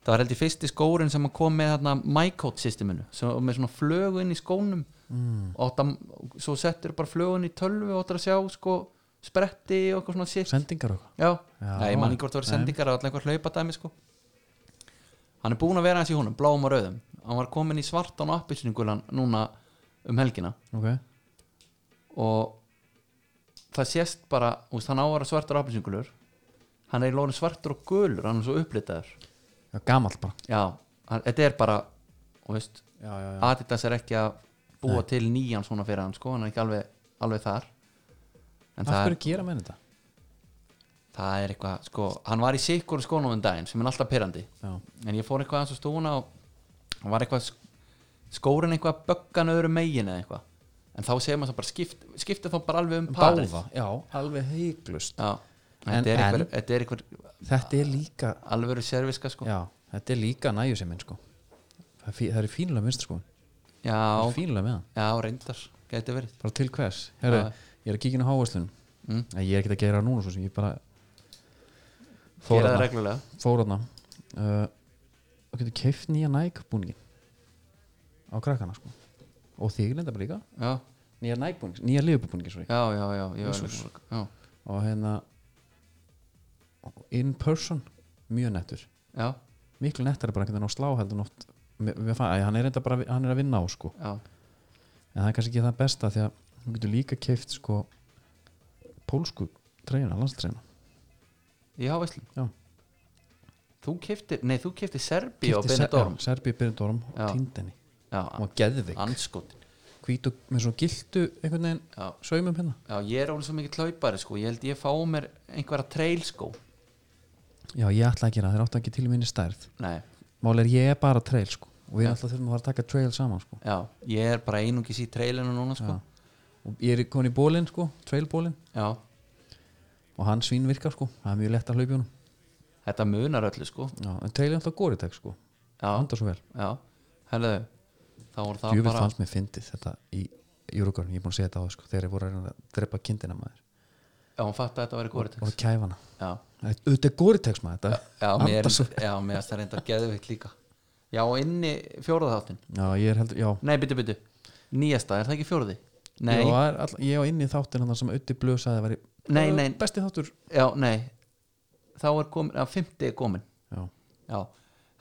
Speaker 1: það var held ég fyrsti skórin sem hann kom með hérna MyCode systeminu sem, og með svona flögu inn í skónum mm. og átt að, svo settur bara flögun í tölvu og átt að sjá sko spretti og eitthvað svona shit
Speaker 2: sendingar og eitthvað
Speaker 1: já,
Speaker 2: Já.
Speaker 1: Nei, ég man ekki hvort það voru sendingar eða allan einhver hlaupadæmi sko hann er búinn að vera hans í húnum, bláum og rauðum hann var komin í svartan og appilsningulan núna um helgina
Speaker 2: Ok,
Speaker 1: og það sést bara, úst, hann á að vera svartur apelsingulur hann er í lóðin svartur og gulur hann er svo upplitaður
Speaker 2: Já, gamalt bara
Speaker 1: já, hann, þetta er bara þú veist,
Speaker 2: Já, já,
Speaker 1: Adidas er ekki að búa til nýjan svona fyrir hann sko, hann er ekki alveg, alveg þar en
Speaker 2: Af
Speaker 1: það er,
Speaker 2: hverju gera menn þetta?
Speaker 1: það er eitthvað sko, hann var í sikur skónum um daginn sem er alltaf pyrrandi
Speaker 2: Já,
Speaker 1: en ég fór eitthvað aðeins á stúna og hann var eitthvað skórin eitthvað að böggan öðru megin eða eitthvað en þá segir maður svo bara skipt, skipti þá bara alveg um parið
Speaker 2: báða, já, alveg heiklust
Speaker 1: Já,
Speaker 2: En-
Speaker 1: þetta er,
Speaker 2: en-
Speaker 1: einhver, þetta er einhver
Speaker 2: Þetta er líka
Speaker 1: alvöru serviska sko Já,
Speaker 2: Já, þetta er líka næju sem minn sko Það er fí- það er fínlega minnst sko Það
Speaker 1: já,
Speaker 2: er fínlega með hann
Speaker 1: reyndar, gæti verið
Speaker 2: Bara til hvers Herru,
Speaker 1: Já.
Speaker 2: ég er að kíkja inn á hávæslun
Speaker 1: Mm.
Speaker 2: Ég er ekkert að gera það núna svo sem ég bara
Speaker 1: Gera það
Speaker 2: Fóraðna
Speaker 1: reglulega
Speaker 2: Fóraðna uh, Og getur keift nýja nækbúningin Á krakkana sko Og þig lenda bara líka
Speaker 1: Já,
Speaker 2: Nýja nækbúningin, nýja liðbúningin svo
Speaker 1: já, já, já, ég var alveg- já,
Speaker 2: Og hérna In person Mjög nettur
Speaker 1: já,
Speaker 2: miklu nettari bara einhvern veginn á slá heldur nótt hann er reynda bara hann er að vinna á sko
Speaker 1: já,
Speaker 2: en það er kannski ekki það besta því að hún getur líka keift sko pólsku treyna, landstreyna
Speaker 1: í hávæslum
Speaker 2: Já.
Speaker 1: Þú keftir, nei, þú keftir Serbi og Benidorm
Speaker 2: Serbi og Benidorm
Speaker 1: Já.
Speaker 2: og Tindeni
Speaker 1: Já,
Speaker 2: og Geðvik
Speaker 1: anskotin
Speaker 2: hvítu með svona giltu einhvern veginn
Speaker 1: Já.
Speaker 2: saumum hérna
Speaker 1: Já, ég er alveg svo mikið hlaupari sko Ég held ég fá mér einhverja trailskó
Speaker 2: já ég ætla að gera það, þeir áttu ekki til í minni stærð
Speaker 1: Nei,
Speaker 2: mál er ég er bara trail sko og við alltaf þurfum að fara að taka trail saman sko
Speaker 1: já, ég er bara einungis í trailinu núna sko
Speaker 2: og ég er komin í bólinn sko, trailbólinn
Speaker 1: Já,
Speaker 2: og hann svín virkar sko, það er mjög lett að hlaupa í honum
Speaker 1: þetta munar öllu sko
Speaker 2: já, en trail er alltaf góriðtek sko
Speaker 1: Já,
Speaker 2: andar svo vel
Speaker 1: já, herðu Þá voru það
Speaker 2: Djúvill
Speaker 1: bara
Speaker 2: fannst mér fyndið þetta í Júrugarn, ég er búin að segja þetta á sko, þegar ég voru að reyna að drepa kindina maður
Speaker 1: Já, hún fatt að þetta væri
Speaker 2: og að
Speaker 1: Gore-Tex
Speaker 2: kæfa hana
Speaker 1: Já,
Speaker 2: Þetta er Gore-Tex maður
Speaker 1: já,
Speaker 2: þetta
Speaker 1: mér er,
Speaker 2: andar svo-
Speaker 1: já, mér er það reynda geðvikt líka Já, og inn í fjóraðháttin
Speaker 2: Já, ég er heldur, já,
Speaker 1: Nei, byttu, byttu, nýjasta, er það ekki fjóraði? Nei,
Speaker 2: já það er all, ég var inn í þáttin hann sem Ötti Blöð sagði að væri
Speaker 1: Nei, nei.
Speaker 2: besti þáttur
Speaker 1: já, nei Þá er komin, já, fymti er komin
Speaker 2: Já,
Speaker 1: Já,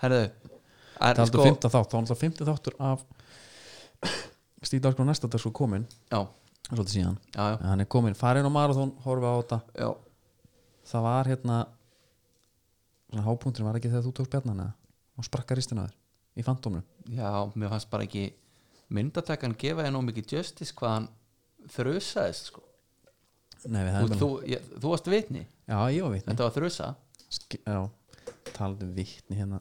Speaker 1: herðu
Speaker 2: það
Speaker 1: er
Speaker 2: er sko, fymta þátt, þá er alltaf fymta þáttur af Stíð Dagsgrá næsta dag sko komin
Speaker 1: Já,
Speaker 2: svolítið síðan,
Speaker 1: já, já,
Speaker 2: En hann er komin farin á marathón, horfa á þetta
Speaker 1: já
Speaker 2: það var hérna svona hápunkturinn var ekki þegar þú tókst bjarnana og sprakka ristin á þér í fantómnum
Speaker 1: Já, mér fannst bara ekki myndatakkan gefa þér nóg mikið justice hvað hann þrjusaðist sko.
Speaker 2: Nei, við
Speaker 1: þú,
Speaker 2: hefum
Speaker 1: þú, ég, þú varst vitni,
Speaker 2: Já, ég var vitni
Speaker 1: þetta var þrjusa
Speaker 2: Ski- Já, talaðu um vitni hérna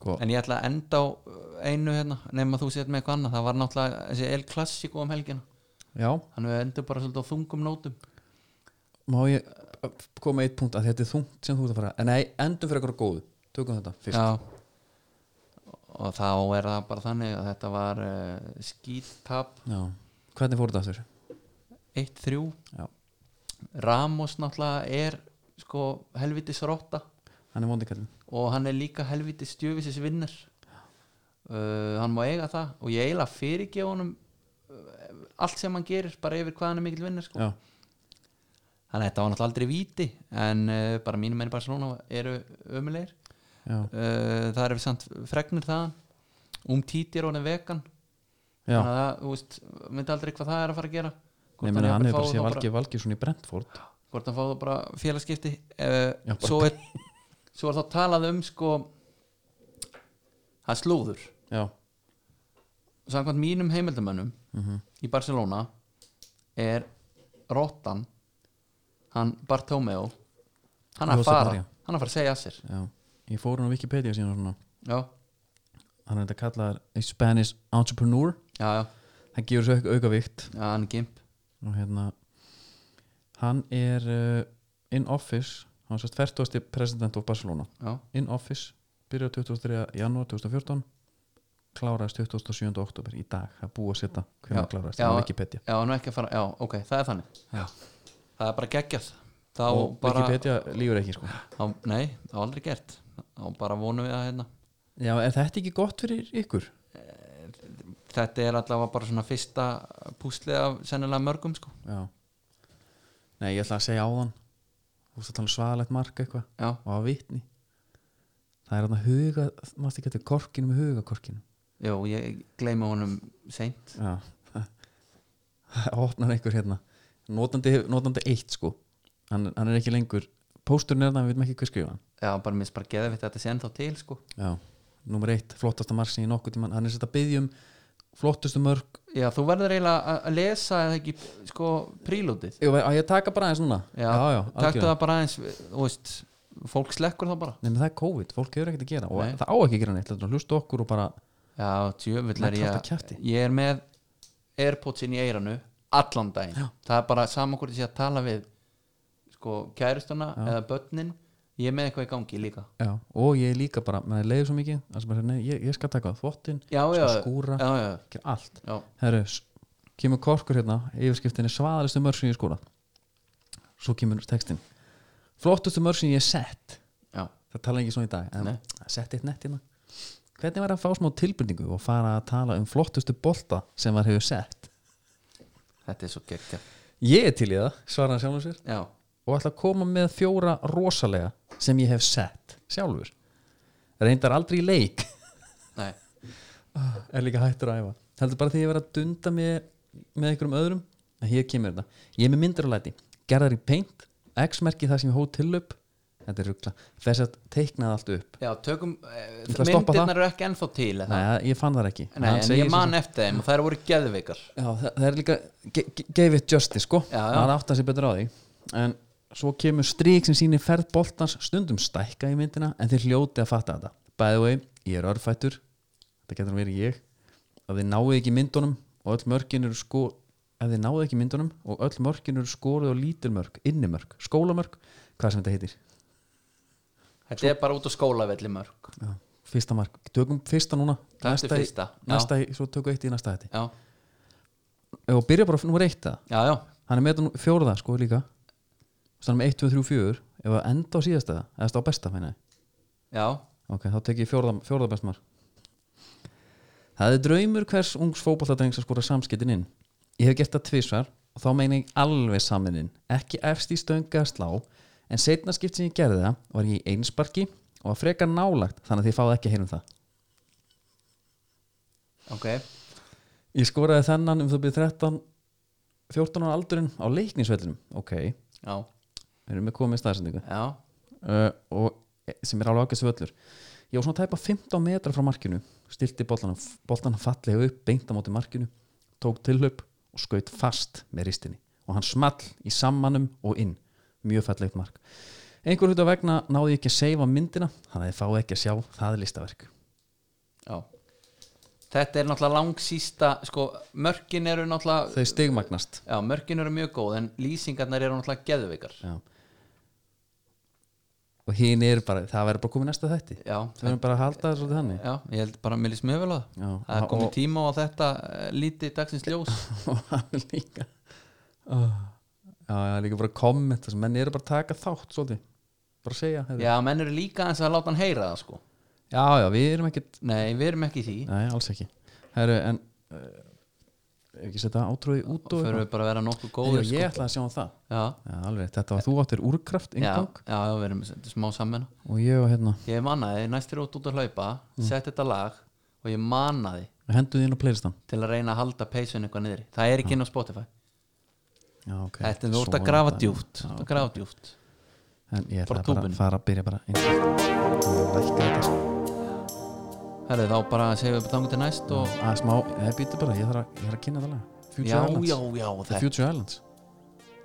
Speaker 2: Sko,
Speaker 1: En ég ætla að enda á uh, einu hérna nema þú sétt með eitthvað annað, það var náttúrulega þessi El Clasico um helgina
Speaker 2: já,
Speaker 1: þannig við endum bara svolítið á þungum nótum
Speaker 2: má ég ö, koma með eitt punkt að þetta er þungt sem þú ert að fara en Nei, endum fyrir eitthvað góðu, tökum þetta fyrst
Speaker 1: Já og þá er það bara þannig að þetta var uh, skíttap
Speaker 2: Já. Hvernig fór þetta aftur?
Speaker 1: 1-3
Speaker 2: Já.
Speaker 1: Ramos náttúrulega er sko helvitis rotta
Speaker 2: Hann er vondikallin
Speaker 1: og hann er líka helvitis stjöfisins vinnar uh, hann má eiga það og ég eiginlega fyrirgefa honum uh, allt sem hann gerir bara yfir hvað hann er mikill vinnar sko.
Speaker 2: Já,
Speaker 1: þannig að þetta var náttúrulega aldrei víti en uh, bara mínum menn í Barcelona eru ömulegir
Speaker 2: já,
Speaker 1: uh, það eru samt fregnir þaðan um títir honum vegan
Speaker 2: já
Speaker 1: þannig að það, þú veist, myndi aldrei hvað það er að fara að gera Hvort
Speaker 2: Nei, meni, hann
Speaker 1: jafnvel
Speaker 2: hefur bara
Speaker 1: fái
Speaker 2: séð
Speaker 1: þá
Speaker 2: Valgi Valgjursson í Brentford
Speaker 1: hvort hann fáðu bara félagskipti uh,
Speaker 2: Já, bara-
Speaker 1: svo, er, svo er þá talað um sko hann slúður
Speaker 2: Já,
Speaker 1: samkvæmt mínum heimildamönnum
Speaker 2: Mhm.
Speaker 1: í Barcelona er Rottan hann Bartomeu hann að
Speaker 2: Josep
Speaker 1: fara,
Speaker 2: Maria.
Speaker 1: hann að fara að segja að sér
Speaker 2: já Ég fór hann á Wikipedia síðan og svona
Speaker 1: já,
Speaker 2: Hann er þetta kallaðar a Spanish entrepreneur
Speaker 1: já, já,
Speaker 2: Hann gefur svo auk- aukavikt
Speaker 1: já hann er gimp
Speaker 2: og hérna Hann er uh, in office Hann er svo stvertuðasti president of Barcelona
Speaker 1: já,
Speaker 2: in office byrjaði 23. janúar 2014 kláraðist 27. oktober í dag það er búið að setja
Speaker 1: Já,
Speaker 2: hvernig að kláraðist
Speaker 1: já.
Speaker 2: það er Wikipedia
Speaker 1: já, hann er ekki að fara já, ok, það er þannig já. það er bara geggjað þá
Speaker 2: og
Speaker 1: bara,
Speaker 2: Wikipedia lífur ekki sko
Speaker 1: þá, nei, það var aldrei gert þá bara vonum við að hérna
Speaker 2: já, er þetta ekki gott fyrir ykkur?
Speaker 1: þetta er allavega bara svona fyrsta púslið af sennilega mörgum sko
Speaker 2: já nei, ég ætla að segja á þann þú veist að tala um svaðalegt mark eitthvað
Speaker 1: já,
Speaker 2: og að vitni það er hann að huga mást ekki að þetta er korkinu með huga korkinu
Speaker 1: Jó, ég gleymi honum seint
Speaker 2: já það opnar einhver hérna notandi, notandi eitt sko hann, hann er ekki lengur pósturinn er það, við veitum ekki hver skrifa hann
Speaker 1: já, bara minnst bara geða við þetta sé ennþá til sko
Speaker 2: Já, nummer eitt, flottasta mark sem ég nokkuð tímann, hann er sett að byggja um flottustu mörg,
Speaker 1: já, þú verður eiginlega að- að lesa eða ekki sko prílútið
Speaker 2: Jú, að ég taka bara aðeins núna já, já
Speaker 1: taktu
Speaker 2: algjörlega.
Speaker 1: það bara aðeins þú veist, fólk slekkur það bara
Speaker 2: Nei, menn það er COVID, fólk hefur ekkert að gera og
Speaker 1: Nei.
Speaker 2: það á ekki að gera neitt, þetta er að hlusta á okkur og bara
Speaker 1: já, tjöfull
Speaker 2: Menn
Speaker 1: er
Speaker 2: halda
Speaker 1: ég
Speaker 2: kjafti.
Speaker 1: ég er með airpodsin í eiranu allan daginn,
Speaker 2: Já.
Speaker 1: það er bara saman hvort ég sé að tala við sko kærustuna eða börnin ég er með eitthvað í gangi líka
Speaker 2: já, og ég er líka bara, maður leiður svo mikið það sem bara, nei, ég, ég skal taka þvottinn
Speaker 1: já, já,
Speaker 2: skal skúra,
Speaker 1: já, já,
Speaker 2: gera allt
Speaker 1: já,
Speaker 2: Herru, s- kemur korkur hérna yfirskiptinni svaðalistu mörg sem ég skóla svo kemur textin flottustu mörg sem ég hef sett
Speaker 1: já.
Speaker 2: það tala ekki svona í dag en
Speaker 1: Nei.
Speaker 2: sett eitt nett hérna hvernig var að fá smá tilbyrningu og fara að tala um flottustu bolta sem var hefur sett
Speaker 1: þetta er svo geggja
Speaker 2: ég er til í það, svaraði hann sjálfur sér
Speaker 1: já,
Speaker 2: og ætla að koma með fjóra rosalega sem ég hef sett sjálfur reyndar aldrei í leik
Speaker 1: nei,
Speaker 2: er líka hættur að æfa heldur bara því ég verið að dunda með, með einhverjum öðrum en hér kemur þetta, ég er með myndir á læti gerðar í paint, X-merki það sem ég hóð til upp þetta er ruggla, þess að teiknaði allt upp
Speaker 1: já, tökum eh,
Speaker 2: ætla að stoppa
Speaker 1: myndirnar eru ekki ennþá til eða?
Speaker 2: Nei, ég fann það ekki
Speaker 1: nei,
Speaker 2: Hann
Speaker 1: en
Speaker 2: segir
Speaker 1: ég
Speaker 2: sem
Speaker 1: man eftir þeim og þær voru geðveikar
Speaker 2: Já, það, það er líka ge- ge- gave it justice sko
Speaker 1: Já, já.
Speaker 2: maður átt að sé betur á því en svo kemur strík sem sýnir ferð boltans stundum stækka í myndina en þið hljóti að fatta þetta by the way, ég er örfættur þetta getur nú verið ég að þið náið ekki myndunum og öll mörkin eru sko að þið náið ekki myndunum og öll mörkin eru skoruð á lítilmörk, innimörk, skólamörk hvað sem þetta heitir
Speaker 1: þetta er bara út á skólavelli mörg
Speaker 2: já. fyrsta mark, tökum fyrsta núna
Speaker 1: Taktu
Speaker 2: Næsta í-
Speaker 1: fyrsta, já.
Speaker 2: næsta, í- svo tökum við eitt í næsta þetta
Speaker 1: já,
Speaker 2: og byrja bara númer eitt það
Speaker 1: já, já,
Speaker 2: hann er með þetta nú- fjórða sko líka þannig með 1, 2, 3, 4 ef að enda á síðasta eða þetta á besta meina ég.
Speaker 1: já
Speaker 2: ok, þá tek ég fjórða, fjórða best mark það er draumur hvers ungs fótballadrengs að skora samskiptin inn ég hef gert það tvisvar og þá meina ég alveg samin inn ekki efst í stönga að slá en setna skipt sem ég gerði það var ég í einsparki og að frekar nálagt þannig að þið fáið ekki að heyrum það
Speaker 1: ok,
Speaker 2: ég skoraði þennan um þau byrði 13 14 ára aldurinn á leiknisvellinum ok,
Speaker 1: já,
Speaker 2: erum við komið staðsendingu
Speaker 1: já
Speaker 2: uh, og sem er alveg ágæst völlur ég var svona tæpa 15 metra frá markinu stilti boltan, boltan fallega upp beint á móti markinu, tók tilhlaup og skaut fast með ristinni og hann small í sammannum og inn mjög fallegt mark einhver hluta vegna náði ég ekki að seifa myndina hann hefði fáið ekki að sjá, það er listaverk
Speaker 1: já þetta er náttúrulega langsýsta sko, mörkin eru náttúrulega
Speaker 2: þau stigmagnast
Speaker 1: já, mörkin eru mjög góð en lýsingarnar eru náttúrulega geðveikar
Speaker 2: Já. og hinn er bara, það verður bara komið næsta þætti
Speaker 1: Já.
Speaker 2: það verður bara að halda það svolítið þannig
Speaker 1: Já, ég held bara að mér líst mjög vel á það
Speaker 2: Já.
Speaker 1: Það er komið
Speaker 2: Og-
Speaker 1: tíma á að þetta eh, líti dagsins ljós
Speaker 2: og hann er líka oh. já, já, líka bara komment þess að menn eru bara að taka þátt svolítið bara að segja heyrðu.
Speaker 1: Já, menn eru líka eins að láta hann heyra það sko
Speaker 2: já, já, við erum ekkert
Speaker 1: Nei, við erum ekki í því
Speaker 2: nei, alls ekki Heru, en uh, ef ekki setja átrúið út og
Speaker 1: Fyrir við bara að vera nokkuð
Speaker 2: Heyrðu,
Speaker 1: góður
Speaker 2: ég
Speaker 1: sko.
Speaker 2: ætla að sjá um það
Speaker 1: Já,
Speaker 2: já, alveg, þetta var þú áttir úrkraft
Speaker 1: já,
Speaker 2: inngang
Speaker 1: já, já, við erum þetta er smá sammenna
Speaker 2: og ég var hérna
Speaker 1: Ég mannaði, næst er út út að hlaupa
Speaker 2: Mm.
Speaker 1: Sett þetta lag og ég mannaði
Speaker 2: henduð inn á playlistan
Speaker 1: til að reyna að halda peysun eitthvað niðri Það er ekki inn á Spotify
Speaker 2: já, okay.
Speaker 1: Þetta er þú ert
Speaker 2: Mm. Svo
Speaker 1: að grafa
Speaker 2: þetta-
Speaker 1: djúpt,
Speaker 2: já,
Speaker 1: þú ert að grafa djúpt.
Speaker 2: en ég ætla
Speaker 1: Bara
Speaker 2: bara
Speaker 1: túbunni.
Speaker 2: að fara að byrja bara inn og lækka þetta
Speaker 1: Herðu þá bara segjum við þangum til næst og
Speaker 2: að smá, það býtu bara, ég þarf að, ég þarf að kynna það lag Future
Speaker 1: Já,
Speaker 2: Islands
Speaker 1: já, já,
Speaker 2: The
Speaker 1: þetta
Speaker 2: Future Islands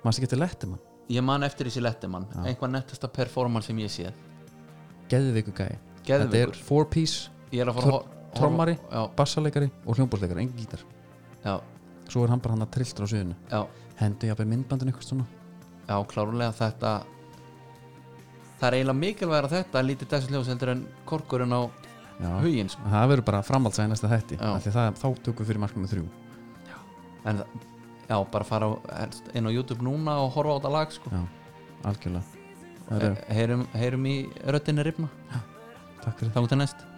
Speaker 2: maður sé getur letti mann,
Speaker 1: Ég man eftir þessi lettimann, einhvað nettasta performance sem ég sé
Speaker 2: geðveiku gæi þetta er
Speaker 1: Geðveikur,
Speaker 2: four piece,
Speaker 1: ég er að fara að
Speaker 2: tr
Speaker 1: hor- horfa-
Speaker 2: trommari
Speaker 1: Já,
Speaker 2: bassaleikari og hljómbúrsleikari, engin gítar
Speaker 1: já,
Speaker 2: svo er hann bara hann að trilltur á sviðinu
Speaker 1: já,
Speaker 2: hendi jafnveg myndbandin eitthvað svona
Speaker 1: já, klárlega þetta Það er eiginlega mikilvægur að þetta lítið dagsljós heldur en korkurinn á
Speaker 2: já,
Speaker 1: huginn sko.
Speaker 2: það verður bara framhaldsæði næsta þætti
Speaker 1: Já.
Speaker 2: af því það, þá tökum við fyrir marknum með þrjú
Speaker 1: En það- já, bara fara á- helst inn á YouTube núna og horfa á þetta lag sko.
Speaker 2: já, algjörlega það er,
Speaker 1: Heyrum, heyrum í röddinni rifna,
Speaker 2: takk fyrir
Speaker 1: Eh. þangum til næst